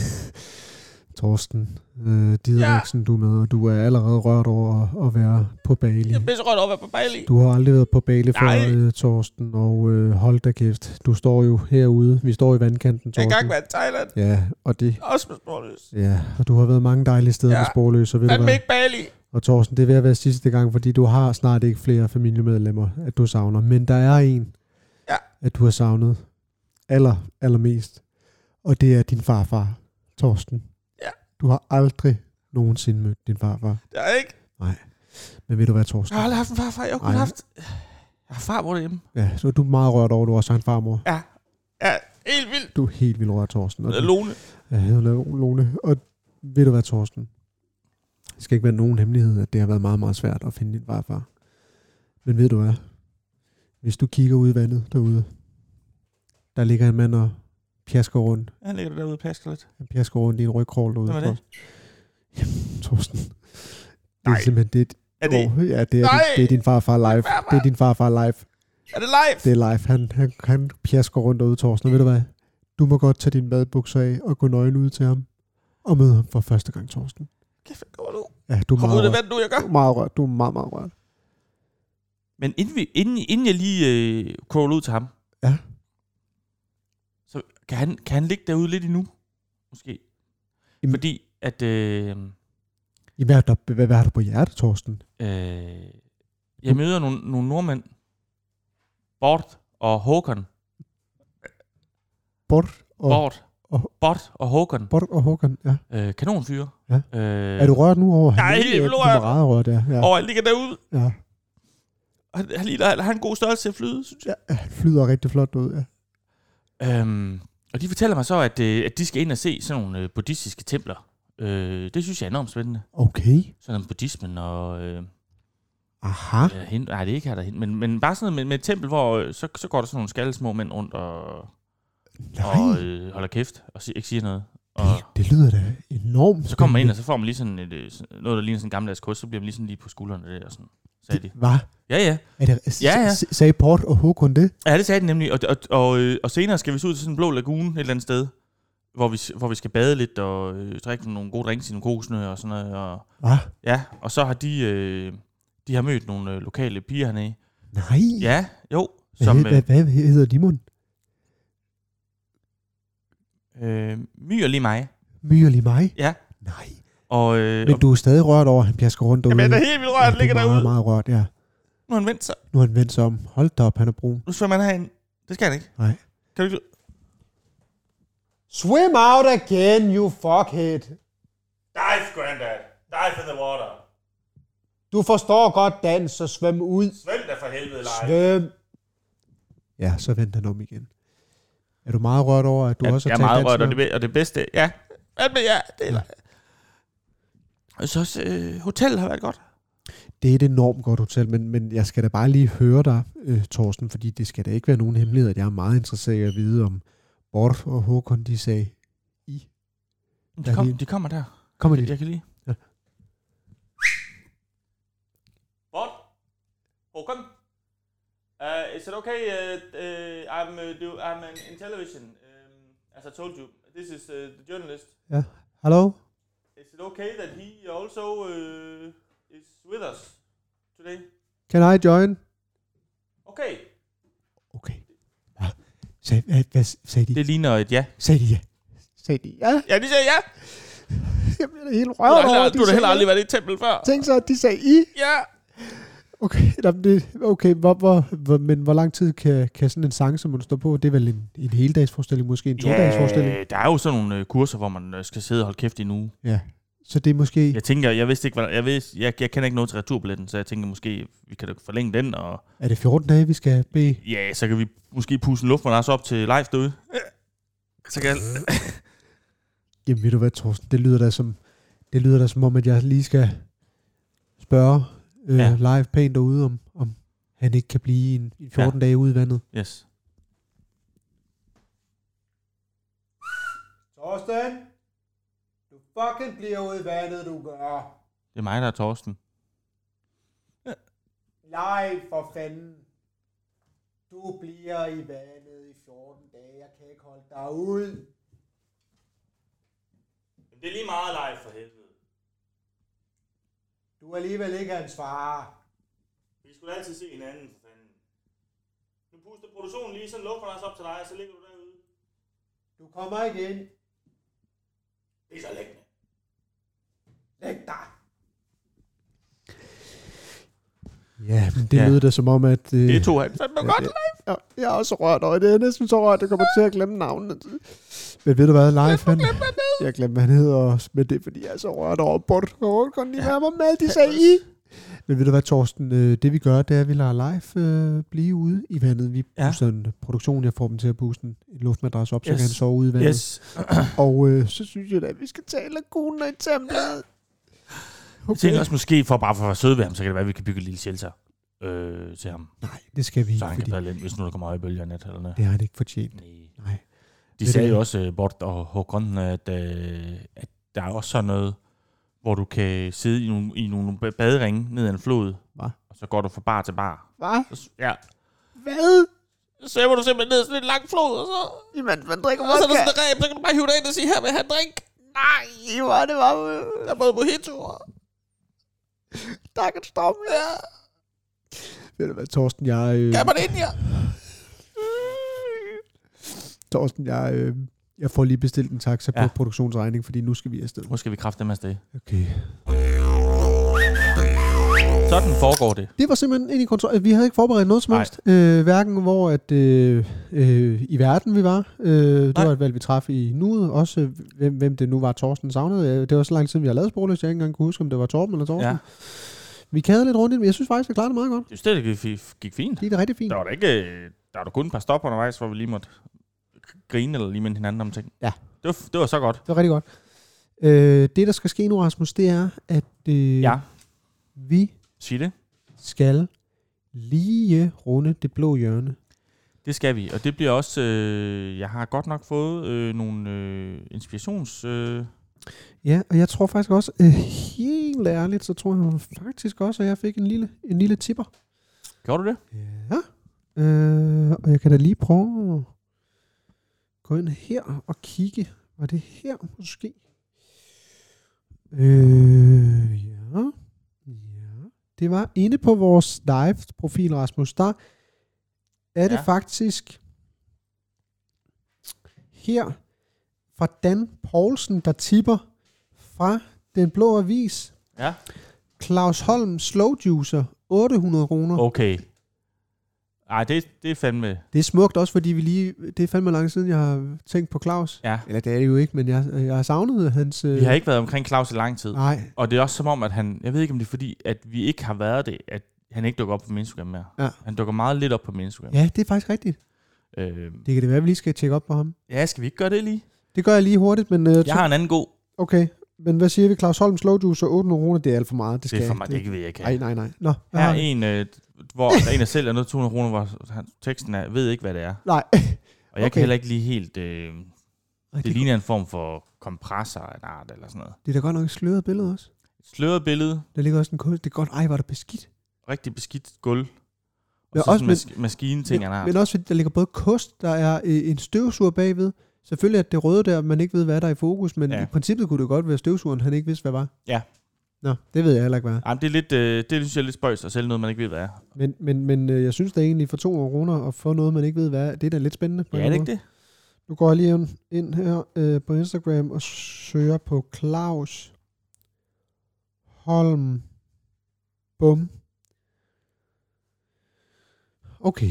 Torsten, øh, Didriksen, ja. du er med, og du er allerede rørt over at, at være på Bali.
Jeg bliver så rødt over på Bejli.
Du har aldrig været på Bali
Nej.
før, øh, Torsten, og øh, hold da kæft, du står jo herude, vi står i vandkanten,
Jeg er i
Torsten.
gang med Thailand.
Ja, og det
Også med småløs.
Ja, og du har været mange dejlige steder ja.
Ja.
med sporløs, så ved du
Fandme
hvad.
ikke Bali.
Og Thorsten, det er ved at være sidste gang, fordi du har snart ikke flere familiemedlemmer, at du savner. Men der er en,
Ja.
at du har savnet aller, allermest. Og det er din farfar, Thorsten.
Ja.
Du har aldrig nogensinde mødt din farfar.
Det er jeg ikke.
Men ved du hvad, Thorsten?
Jeg har aldrig haft en farfar. Jeg har kun
Ej.
haft... Jeg har farbror derhjemme.
Ja, så er du meget rørt over, at du også har en farmor.
Ja. Ja, helt vildt.
Du er helt vildt rørt, Thorsten. Og du,
Lone.
Ja, hun hedder Lone. Og ved du hvad, Torsten? Det skal ikke være nogen hemmelighed, at det har været meget, meget svært at finde din farfar. Men ved du hvad? Hvis du kigger ud i vandet derude, der ligger en mand og pjasker rundt.
Han ligger derude og plasker lidt.
Han pjasker rundt i en rygkrog derude.
Hvem er det?
Jamen, Torsten. Det er
Nej.
simpelthen det. er-
Er det,
Åh, ja, det er,
Nej!
det, det er din farfar live.
farfar!
Det er din farfar live.
er det live?
Det er live. Han, han, han pjasker rundt derude, Torsten. Og ved du hvad? Du må godt tage dine madbukser af og gå nøgen ud til ham. Og møde ham for første gang, Torsten.
Kæft, hvad går du?
Ja, du er
Kom ud
meget
af det
rørt.
vand, du, jeg gør.
Du er meget rørt. Du er meget, meget rørt.
Men inden, vi, inden, inden jeg lige øh, crawler ud til ham,
Ja.
så kan han, kan han ligge derude lidt endnu, måske.
Jamen-
Jamen. Fordi at, øh,
Jamen, hvad, er der, hvad, hvad er der på hjertet, Torsten?
øh, jeg møder nogle, nogle nordmænd, Bort og Håkon.
Bort og,
Bort.
og-
Bort og Håkon.
Bort og Håkan, ja.
Øh, kanonfyre.
Ja.
Øh,
Er du rørt nu over?
Jeg er helt
vildt
vildt
rørt.
rørt.
Du er meget rørt, ja. ja.
Og han ligger derude.
ja.
Han, han, ligner, han har en god størrelse til at flyde, synes jeg.
ja. Han flyder rigtig flot ud, ja.
Øhm, Og de fortæller mig så, at, øh, at de skal ind og se sådan nogle øh, buddhistiske templer. Øh, det synes jeg er enormt spændende.
Okay.
Sådan om buddhismen og... Øh,
Aha.
øh, hin- nej, det er ikke her derhen, men, men bare sådan noget med, med et tempel, hvor øh, så, så går der sådan nogle skalle små mænd rundt og, og
Nej,
øh, holder kæft og si- ikke siger noget. Og
det, det lyder da enormt
så kommer man ind, og så får man lige sådan et, øh, sådan- noget, der ligner sådan en gammeldags kost, så bliver man lige sådan lige på skuldrene der og sådan, sagde de.
Hvad?
Ja, ja.
Er det,
Ja,
ja,
ja.
ja. Sagde Port og Håkon det?
Ja, det sagde den nemlig. Og, og, og, øh, og senere skal vi så ud til sådan en blå lagune et eller andet sted, hvor vi, s- hvor vi skal bade lidt og øh, drikke nogle gode drinks i nogle kokosnø og sådan noget. Og,
Hvad?
ja, og så har de, øh, de har mødt nogle øh, lokale piger hernede.
Nej.
Ja, jo.
Hvad,
Som,
hed- hvad, hvad hedder de mund?
øh, øh, my og lige mig.
Myr lige mig?
Ja.
Nej.
Og, øh,
Men
og
du er stadig rørt over, at han pjasker rundt derude.
jamen, der er helt vildt
Ja,
rørt,
du er
ligger
meget,
derude.
meget rørt, ja.
Nu har han vendt sig.
Nu har han vendt sig om. Hold da op, han er brun.
Nu svømmer han herind. Det skal han ikke.
Nej.
Kan du ikke?
Swim out again, you fuckhead.
Dive, granddad. Dive in the water.
Du forstår godt dans, så svøm ud.
Svøm der for helvede,
Svøm. Ja, så vendte han om igen. Er du meget rørt over, at du
jeg,
også
jeg
har
er meget
dansen
rørt, og
op?
det, og det bedste, ja. Hvad med jer? Det er Og så også, øh, hotellet har været godt.
Det er et enormt godt hotel, men, men jeg skal da bare lige høre dig, øh, Thorsten, fordi det skal da ikke være nogen hemmelighed, at jeg er meget interesseret i at vide, om Bort og Håkon, de sagde, I.
De,
Der
kom,
er lige-
de kommer der.
Kom med
Jeg
det.
kan lige.
Ja.
What? Håkon? Uh, is it okay? Uh, uh, I'm, uh, do, I'm in, in television. Um, as I told you, this is uh, the journalist.
Ja. Hallo?
Is it okay that he also uh, is with us today?
Can I join?
Okay.
Okay. Hva? Sag, hvad, hvad sagde de?
Det ligner et ja.
Sagde de ja? Sagde de ja?
Ja, de sagde ja.
Jeg bliver da helt
Du
rørt
har,
over, at
heller,
de
du har da
sagde
heller
ja.
aldrig været i et tempel før.
Tænk så, at de sagde I.
Ja.
Okay, nå, men det- okay hvor, hvor, hvor, men hvor lang tid kan, kan sådan en sang, som man står på, det er vel en, en heldagsforestilling, måske en to-dages forestilling?
der er jo sådan nogle øh, kurser, hvor man øh, skal sidde og holde kæft i en uge.
Ja. Så det er måske...
Jeg tænker, jeg vidste ikke, hvad, jeg, vidste, jeg, jeg kender ikke noget til returbilletten, så jeg tænker måske, vi kan da forlænge den, og
Er det 14 dage, vi skal bede?
ja, så kan vi måske pusse en luftmadrasse op til live derude. Så kan jeg,
Jamen ved du hvad, Thorsten, det lyder da som, det lyder da som om, at jeg lige skal spørge øh,
Ja.
ja. live pænt derude, om, om han ikke kan blive en, en 14 ja. dage ude i vandet.
yes.
Thorsten, du fucking bliver ude i vandet, du gør.
Det er mig, der er Torsten.
Live for fanden. Du bliver i vandet i 14 dage, jeg kan ikke holde dig ud.
Det er lige meget live for helvede.
Du er alligevel ikke hans far.
Vi skulle altid se hinanden, for fanden. Nu puster produktionen lige sådan en luftmadrasse op til dig, og så ligger du derude.
Du kommer ikke ind.
Det er så lækkende.
Læg dig. Ja, men det
Ja.
ja. lyder da som om, at... Øh,
Det tog han fandme godt.
Ja, jeg er også rørt over det. Jeg er næsten så rørt, at jeg kommer til at glemme navnet. Men ved du hvad, live, han, jeg glemte, hvad han hedder også, men det er, fordi jeg er så rørt over Bort Håkon, de ja. mig med, de sagde I. Men ved du hvad, Torsten, øh, det vi gør, det er, at vi lader live øh, blive ude i vandet. Vi
Ja.
ja. booster en produktion, jeg får dem til at booste en en luftmadras op, så
Yes.
kan han sove ude i vandet.
Yes.
Yes. Og øh, så synes jeg da, at vi skal tale lagunen og i templet.
Jeg tænker også måske, for bare for at være søde ved ham, så kan det være, at vi kan bygge et lille shelter øh, til ham.
Nej, det skal vi ikke,
Så han kan
fordi
være lidt, hvis nu der kommer høje bølger i nat eller noget.
det har han ikke fortjent.
Nej.
Nej.
De
Det
sagde
er
jo
det.
også, øh, Bort og Håkon, at, øh, at der er også sådan noget, hvor du kan sidde i nogle, i nogle ba- baderinge ned ad en flod,
Hva?
og så går du fra bar til bar.
Hva?
Så, s- ja.
Hvad?
Så svømmer du simpelthen ned i sådan en lang flod, og så,
Imens man drikker
og så er der sådan en ræb, så kan du bare hive dig ind og sige, her vil jeg have en drink. Nej, hvor er det var Der er både mojitoer.
Tak en strom, ja. Ved du hvad, Torsten, jeg... Øh,
Kan man ind, ja?
Torsten, jeg, øh, jeg får lige bestilt en taxa ja.
Ja.
på produktionsregning, fordi nu skal vi afsted.
Nu skal vi kræfte dem afsted.
Okay.
Sådan foregår det.
Det var simpelthen ind i kontrol. Vi havde ikke forberedt noget som
Nej.
helst. Øh, hverken hvor at, øh, øh, i verden vi var. Øh, det
Nej.
var et valg, vi traf i nuet. Også øh, hvem, hvem det nu var, Torsten savnede. Øh, Det var så lang tid, siden, vi har lavet sporløs, jeg ikke engang kunne huske, om det var Torben eller Torsten.
Ja.
Ja. Vi kædede lidt rundt i det, men jeg synes faktisk, vi klarede det meget godt.
Det synes, det gik fint.
Det er rigtig fint.
Der var da ikke... øh, Der var da kun et par stop undervejs, hvor vi lige måtte grine eller lige minde hinanden om ting.
Ja. Mm.
Det var, f- det var så godt.
Det var rigtig godt. Øh, det, der skal ske nu, Rasmus, det er, at øh,
Ja.
vi
Sig det.
skal lige runde det blå hjørne.
Det skal vi, og det bliver også... Øh, jeg har godt nok fået øh, nogle øh, inspirations... Øh,
Ja, og jeg tror faktisk også, øh, helt ærligt, så tror jeg faktisk også, at jeg fik en lille, en lille tipper.
gjorde du det?
Ja. Øh, og jeg kan da lige prøve at gå ind her og kigge. Var det her måske? Øh, ja. ja. Det var inde på vores live-profil, Rasmus. Der er det
Ja.
ja. faktisk her fra Dan Poulsen, der tipper fra Den Blå Avis.
Ja.
Claus Holm Slow Juicer, 800 kroner.
Okay. Ej, det, det er fandme...
Det er smukt også, fordi vi lige... Det er fandme lang siden, jeg har tænkt på Claus.
Ja.
Eller det er det jo ikke, men jeg, jeg har savnet hans... Øh,
Vi har ikke været omkring Claus i lang tid.
Nej,
Og det er også som om, at han... Jeg ved ikke, om det er fordi, at vi ikke har været det, at han ikke dukker op på min Instagram mere.
Ja.
Han dukker meget lidt op på min Instagram.
ja, det er faktisk rigtigt.
Øh,
Det kan det være, at vi lige skal tjekke op på ham.
ja, skal vi ikke gøre det lige?
Det gør jeg lige hurtigt, men... Øh,
Jeg har en anden god.
Okay, men hvad siger vi? Claus Holm Slow Juice og 800 kroner, det er alt for meget. Det,
Det
skal
er for
jeg
mig, det ikke ved jeg ikke.
Nej, nej, nej. Nå, hvad
Her
har vi?
er en, øh, hvor der er en, der selv er noget 200 kroner, hvor han, teksten er, ved ikke, hvad det er.
Nej.
Og jeg okay.
Okay.
kan heller ikke lige helt... Øh,
Ej,
det
det,
ligner en form for kompressor af en art eller sådan noget.
det er da godt nok et sløret billede også.
Et sløret billede,
Der ligger også en kunst. Det er godt. Ej, var det beskidt.
rigtig beskidt gulv. Og
Ja,
så
også
sådan mas- maskinen-ting, han har.
Men også, fordi der ligger både kost, der er øh, en støvsuger bagved. Selvfølgelig er det røde der, man ikke ved, hvad der er i fokus, men
Ja.
ja. i princippet kunne det godt være støvsugeren, han ikke vidste, hvad var.
Ja.
Nå, det ved jeg heller ikke, hvad er.
Jamen, det, er lidt, øh, det synes jeg er lidt spøjs at sælge noget, man ikke ved, hvad er.
Men, men, men øh, jeg synes da egentlig, for 200 kroner at få noget, man ikke ved, hvad er, det er da lidt spændende. På
Ja,
en
er det
måde.
ikke det?
Nu går jeg lige ind- ind her øh, på Instagram og søger på Claus Holm Bum. Okay,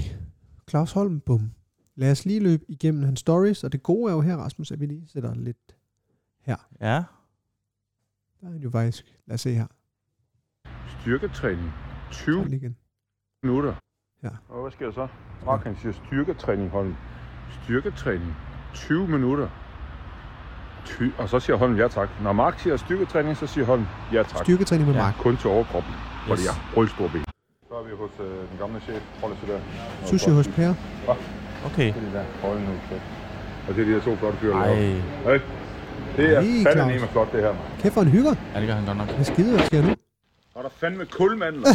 Claus Holm Bum. Lad os lige løbe igennem hans stories, og det gode er jo her, Rasmus, at vi lige sætter lidt...
Ja.
Der er han jo faktisk... Lad os se her.
Styrketræning.
Der
20
er lige igen.
minutter.
Ja.
Og hvad sker der så? Mark, han siger styrketræning, Holm. Styrketræning. 20 minutter. Ty- og så siger Holm ja tak. Når Mark siger styrketræning, så siger Holm ja tak.
Styrketræning med
Ja.
ja. Mark.
Kun til overkroppen, yes. fordi
Yes.
jeg har rødstor ben. Så er vi hos øh, den gamle chef, Trolle Sødær.
Sushi hos Per.
Okay.
Hold nu kæft. Og det er de her to flotte fyre,
Ej,
der Hey. Det er
Ej,
fandme
Claus.
nemme flot, det her, mand.
Kæft for en hygger.
ja, det gør han godt nok.
Hvad skider der sker nu?
Og der er fandme kulmandler.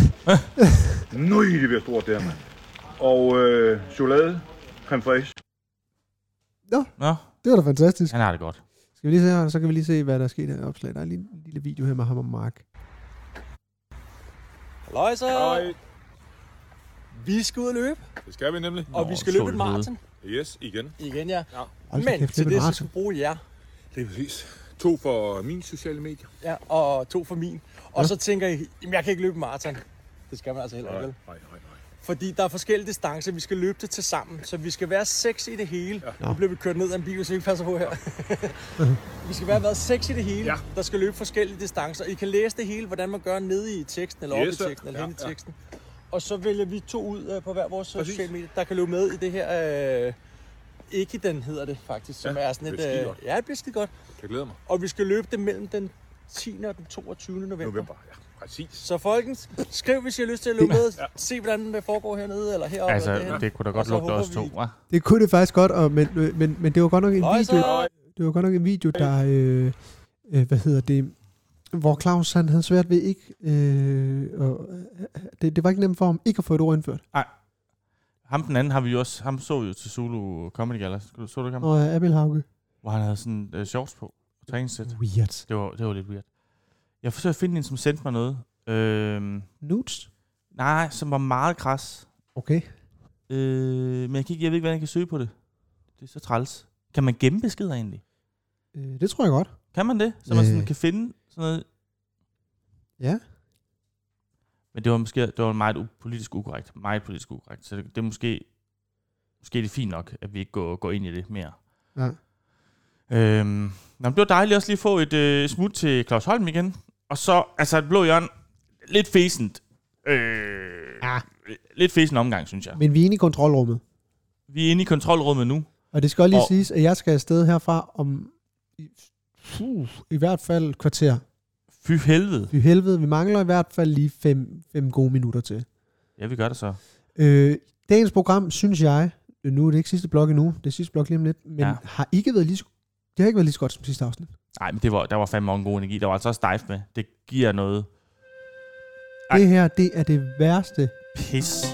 Nøj, det bliver stort, det her, mand. Og øh, chokolade, creme fraiche.
Nå,
Det var da fantastisk.
han har det godt.
Skal vi lige se her, så kan vi lige se, hvad der er sket her i opslaget. Der er lige en lille video her med ham og Mark.
Hej så. Vi skal ud og løbe,
Det skal vi nemlig.
og
Nå,
vi skal løbe
slå
et
i hovedet.
maraton.
Yes, igen.
Igen, ja.
Hold da
Men
kæft,
til
det er
det, så
maraton.
skal vi bruge jer.
Det er præcis. To for mine sociale medier.
Ja, og to for min. Og så tænker I, jamen jeg kan ikke løbe en maraton. Det skal man altså heller ikke. vel?
nej, nej.
Fordi der er forskellige distancer, vi skal løbe det til sammen. Så vi skal være seks i det hele. Nu bliver vi kørt ned af en bil, så vi passer på her. vi skal være været seks i det hele,
Ja.
der skal løbe forskellige distancer. I kan læse det hele, hvordan man gør nede i teksten, eller
Yes,
yes,
sir.
oppe i teksten, eller
Ja,
ja, hen i
ja.
teksten. Og så vælger vi to ud øh, på hver vores øh,
Præcis.
sociale medier, der kan løbe med i det her... Øh, ikke den hedder det faktisk, som
Ja,
ja, er sådan
det
et...
bliver
øh,
skidegodt.
ja, det bliver skide godt.
Jeg glæder mig.
Og vi skal løbe det mellem den 10. og den 22. november.
November, ja. Præcis.
Så folkens, skriv, hvis I har lyst til at løbe med. Se, hvordan det foregår hernede, eller heroppe.
Altså,
eller derhenne.
det kunne da
Og
godt
så
lugte
håber
os to,
vi-
hva'?
Det kunne det faktisk godt, og, men, men, men det var godt nok en
Løjser!
video, det var godt nok en video, der, øh, øh, hvad hedder det, hvor Claus han havde svært ved ikke, øh, og, øh, det, det var ikke nemt for ham ikke at få et ord indført.
Ham den anden har vi jo også, ham så vi jo til Zulu Comedy Gala. Så du ikke ham?
Og øh, Abel Hauke.
Hvor han havde sådan øh, shorts på. Træningssæt.
Weird.
Det var, det var lidt weird. Jeg forsøger at finde en, som sendte mig noget. Øhm,
Nudes.
nej, som var meget kras.
Okay.
Øh, men jeg, kan ikke, jeg ved ikke, hvordan jeg kan søge på det. Det er så træls. Kan man gemme beskeder egentlig?
Øh, det tror jeg godt.
Kan man det? Så man sådan
Øh.
kan finde sådan noget.
Ja.
Men det var måske det var meget u- politisk ukorrekt. Meget politisk ukorrekt. Så det, det er måske, måske er det fint nok, at vi ikke går, går ind i det mere.
Ja.
Øhm, nå, men det var dejligt også lige at få et øh, smut til Claus Holm igen. Og så, altså et blå hjørne, lidt fæsent. Øh,
Ja.
Lidt fæsent omgang, synes jeg.
Men vi er inde i kontrolrummet.
Vi er inde i kontrolrummet nu.
Og det skal også lige
Og-
siges, at jeg skal afsted herfra om i, uh, i hvert fald et kvarter.
Fy helvede.
Fy helvede, vi mangler i hvert fald lige fem, fem gode minutter til.
Ja, vi gør det så.
Øh, dagens program, synes jeg, nu er det ikke sidste blok endnu, det er sidste blok lige om lidt, men ja.
Ja.
har ikke været lige så, det har ikke været lige så godt som sidste afsnit.
Nej, men det var, der var fandme også en god energi. Der var altså også dive med. Det giver noget
Ej.
Ej.
Det her, det er det værste.
pis.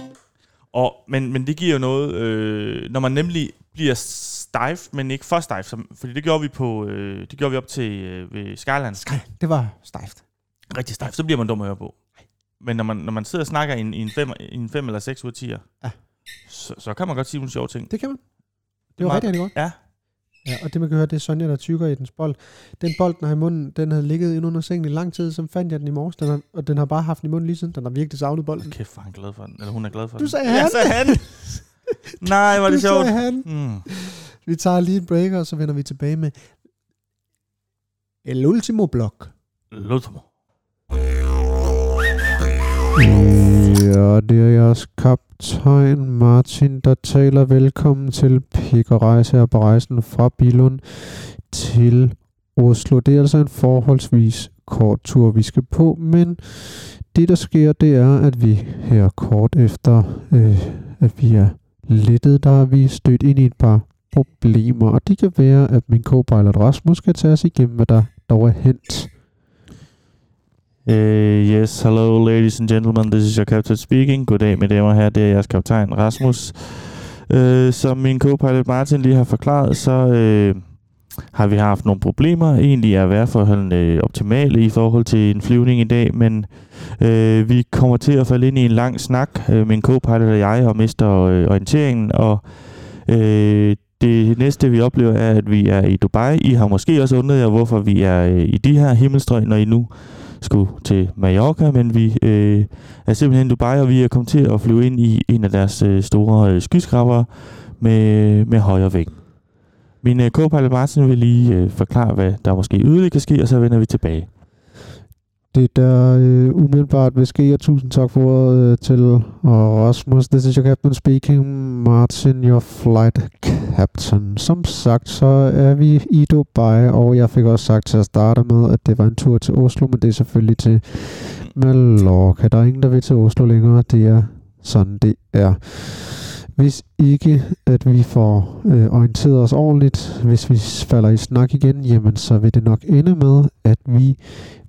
Og, men, men det giver jo noget, øh, når man nemlig bliver stive, men ikke for stive. Som, fordi det gjorde vi på, øh, det gjorde vi op til øh, ved Skyland. Sky.
Det var stejft.
Rigtig stive, så bliver man dum at høre på. Men når man, når man sidder og snakker i en, i en, fem, i en fem eller seks ud af 10'er,
Ja.
så, så kan man godt sige nogle sjove ting.
Det kan man. Det,
er
var
meget-
rigtig, rigtig godt.
Ja,
Ja, og det man kan høre, det er Sonja, der tykker i dens bold. Den bold, den har i munden, den havde ligget inde under sengen i lang tid, så fandt jeg den i morges, den har, og den har bare haft den i munden lige siden. Den har virkelig savnet bolden.
kæft, hvor er han glad for den. Eller hun er glad for
Du
den.
sagde
Jeg
han.
sagde han. Nej, var det
Du
sjovt.
sagde han.
Mm.
Vi tager lige en break, og så vender vi tilbage med El Ultimo Blok.
Lothmo.
Ja, det er jeres kaptajn Martin, der taler velkommen til Pikkerejse og på rejsen fra Bilund til Oslo. Det er altså en forholdsvis kort tur, vi skal på, men det der sker, det er, at vi her kort efter, øh, at vi er lettet, der er vi stødt ind i et par problemer, og det kan være, at min co-pilot Rasmus skal tage os igennem, hvad der dog er hent.
Uh, yes, hello ladies and gentlemen, this is your captain speaking. Goddag mine damer og herrer, det er jeres kaptajn Rasmus. Uh, som min co-pilot Martin lige har forklaret, så uh, har vi haft nogle problemer. Egentlig er vejrforholdene optimale i forhold til en flyvning i dag, men uh, vi kommer til at falde ind i en lang snak, uh, min co-pilot og jeg, og mister uh, orienteringen, og uh, det næste, vi oplever, er, at vi er i Dubai. I har måske også undret jer, hvorfor vi er øh, i de her himmelstrøg, når I nu skulle til Mallorca, men vi øh, er simpelthen i Dubai, og vi er kommet til at flyve ind i en af deres øh, store øh, skyskrabere med, med højre vægt. Min øh, co-pilot Martin vil lige øh, forklare, hvad der måske yderligere kan ske, og så vender vi tilbage.
Det der øh, umiddelbart vil ske, og tusind tak for ordet øh, til og Rasmus. This is your captain speaking, Martin, your flight captain. Som sagt, så er vi i Dubai, og jeg fik også sagt til at starte med, at det var en tur til Oslo, men det er selvfølgelig til Mallorca. Der er ingen, der vil til Oslo længere. Det er sådan, det er. Hvis ikke, at vi får øh, orienteret os ordentligt, hvis vi falder i snak igen, jamen så vil det nok ende med, at vi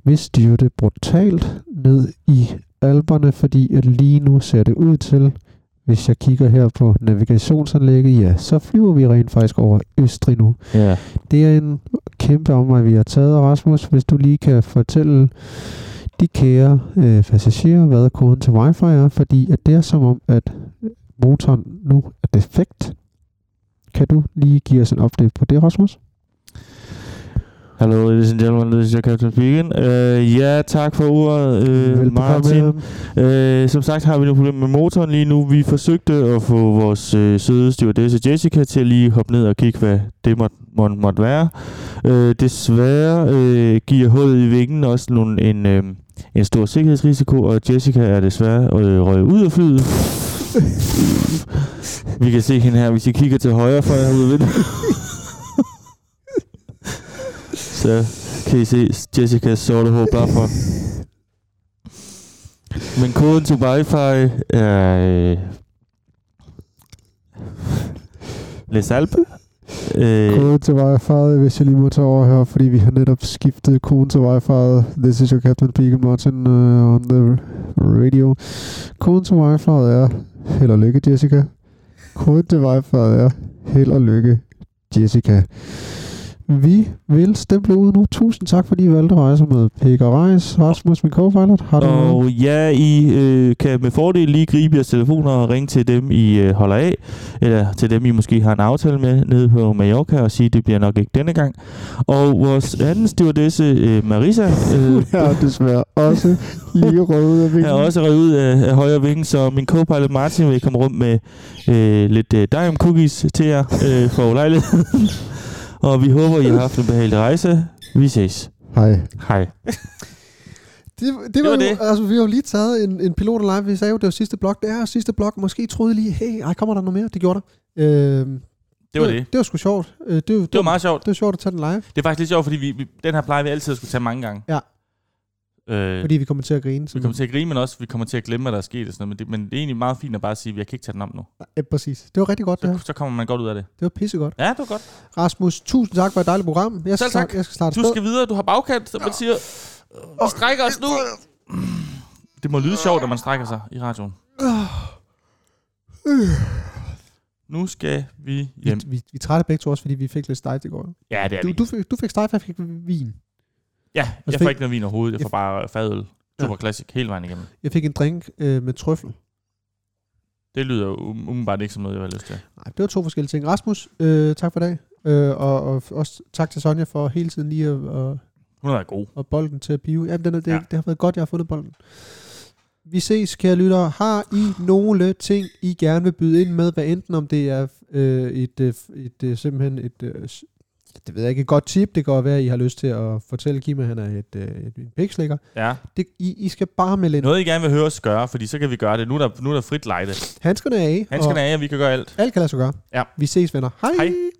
vil styrte brutalt ned i alberne, fordi at lige nu ser det ud til, hvis jeg kigger her på navigationsanlægget, ja, så flyver vi rent faktisk over Østrig nu.
Ja.
Det er en kæmpe omvej, vi har taget, Rasmus. Hvis du lige kan fortælle de kære øh, passagerer, hvad koden til wifi er, fordi at det er som om, at motoren nu er defekt. Kan du lige give os en update på det, Rasmus?
Hello ladies and gentlemen, this is your captain speaking. Uh, ja, tak for ordet, uh, Martin. Øh, som sagt har vi nogle problemer med motoren lige nu. Vi forsøgte at få vores øh, søde stewardesse Jessica til at lige hoppe ned og kigge, hvad det måtte, måtte, måtte være. Øh, desværre øh, giver hullet i vingen også nogle, en, øh, en stor sikkerhedsrisiko, og Jessica er desværre øh, røget ud af flyet. Vi kan se hende her, hvis I kigger til højre for jer ude ved Så kan I se Jessicas sorte hår blaffer. Men koden til wifi er... Øh, Les Alpes. Øh,
Kode til wifi, hvis jeg lige må tage over her, fordi vi har netop skiftet koden til wifi. This is your Captain Peak Martin uh, on the radio. Koden til wifi er held og lykke, Jessica. Koden til wifi er held og lykke, Jessica. Vi vil stemple ud nu. Tusind tak, fordi I valgte rejser med Pik og Rejs. Rasmus, min co-pilot. Har du noget?
og ja, I øh, kan med fordel lige gribe jeres telefoner og ringe til dem, I øh, holder af, eller til dem, I måske har en aftale med nede på Mallorca, og sige, det bliver nok ikke denne gang. Og vores anden stewardesse, øh, Marisa, øh,
Hun er desværre også lige rød ud af
Jeg er
vingen.
også røget ud af, af højre vinge, så min co-pilot Martin vil komme rundt med øh, lidt øh, dime cookies til jer øh, for lejligheden. og vi håber, I har haft en behagelig rejse. Vi ses.
Hej.
Hej.
Det, det, det var,
var
det.
det.
Jo, altså, vi har jo lige taget en, en pilot live. Vi sagde jo, det var sidste blok. Det er sidste blok. Måske troede I lige, hey, ej, kommer der noget mere? Det gjorde der. Øh,
Det var det.
Øhm, Det var sgu sjovt. Øh, Det,
Det var meget sjovt.
Det var sjovt at tage den live,
Det er faktisk lidt sjovt, fordi vi, vi, den her plejer vi altid at skulle tage mange gange.
Ja.
Øh,
fordi vi kommer til at grine.
vi
Sådan.
kommer til at grine, men også vi kommer til at glemme, hvad der er sket og sådan noget. Men det, men det er egentlig meget fint at bare sige, at jeg kan ikke tage den om nu.
Ja, præcis. Det var rigtig godt, det her.
Så, så kommer man godt ud af det.
Det var pissegodt.
Ja, det var godt.
Rasmus, tusind tak for et dejligt program. Jeg skal,
Selv tak.
Starte, jeg skal starte
Du
afsted.
skal videre, du har bagkant, og man siger, vi strækker os nu. Det må lyde sjovt, når man strækker sig i radioen.
Øh.
Nu skal vi hjem.
Vi, vi, vi er trætte begge to også, fordi vi fik lidt stejt i går.
Ja, det er
Du,
vi.
du, fik, du fik stejt, jeg fik vin.
Ja, jeg får
fik-
ikke noget vin overhovedet. Altså, Jeg får bare fadøl. Super
Ja.
classic hele vejen igennem.
Jeg fik en drink øh, med trøffel.
Det lyder jo um- umiddelbart ikke som noget, jeg har lyst til.
Nej, det var to forskellige ting. Rasmus, øh, tak for i dag. Øh, og, og også tak til Sonja for hele tiden lige at, at,
Hun har været god.
at bolden til at pive. Jamen, den er, det,
Ja.
ja. det har været godt, jeg har fundet bolden. Vi ses, kære lyttere. Har I nogle ting, I gerne vil byde ind med, hvad enten om det er øh, et, øh, et, øh, simpelthen et, øh, s- det ved jeg ikke, et godt tip, det kan godt være, at I har lyst til at fortælle Kim, at han er et, øh, et, en pikslikker.
Ja.
Det, I, I skal bare melde ind.
Noget, I gerne vil høre os gøre, fordi så kan vi gøre det. Nu er der, nu er der frit lejde.
Handskerne er af,
Han skal
og
af, og vi kan gøre alt.
alt kan lade sig gøre.
Ja.
Vi ses, venner. Hej.
Hej.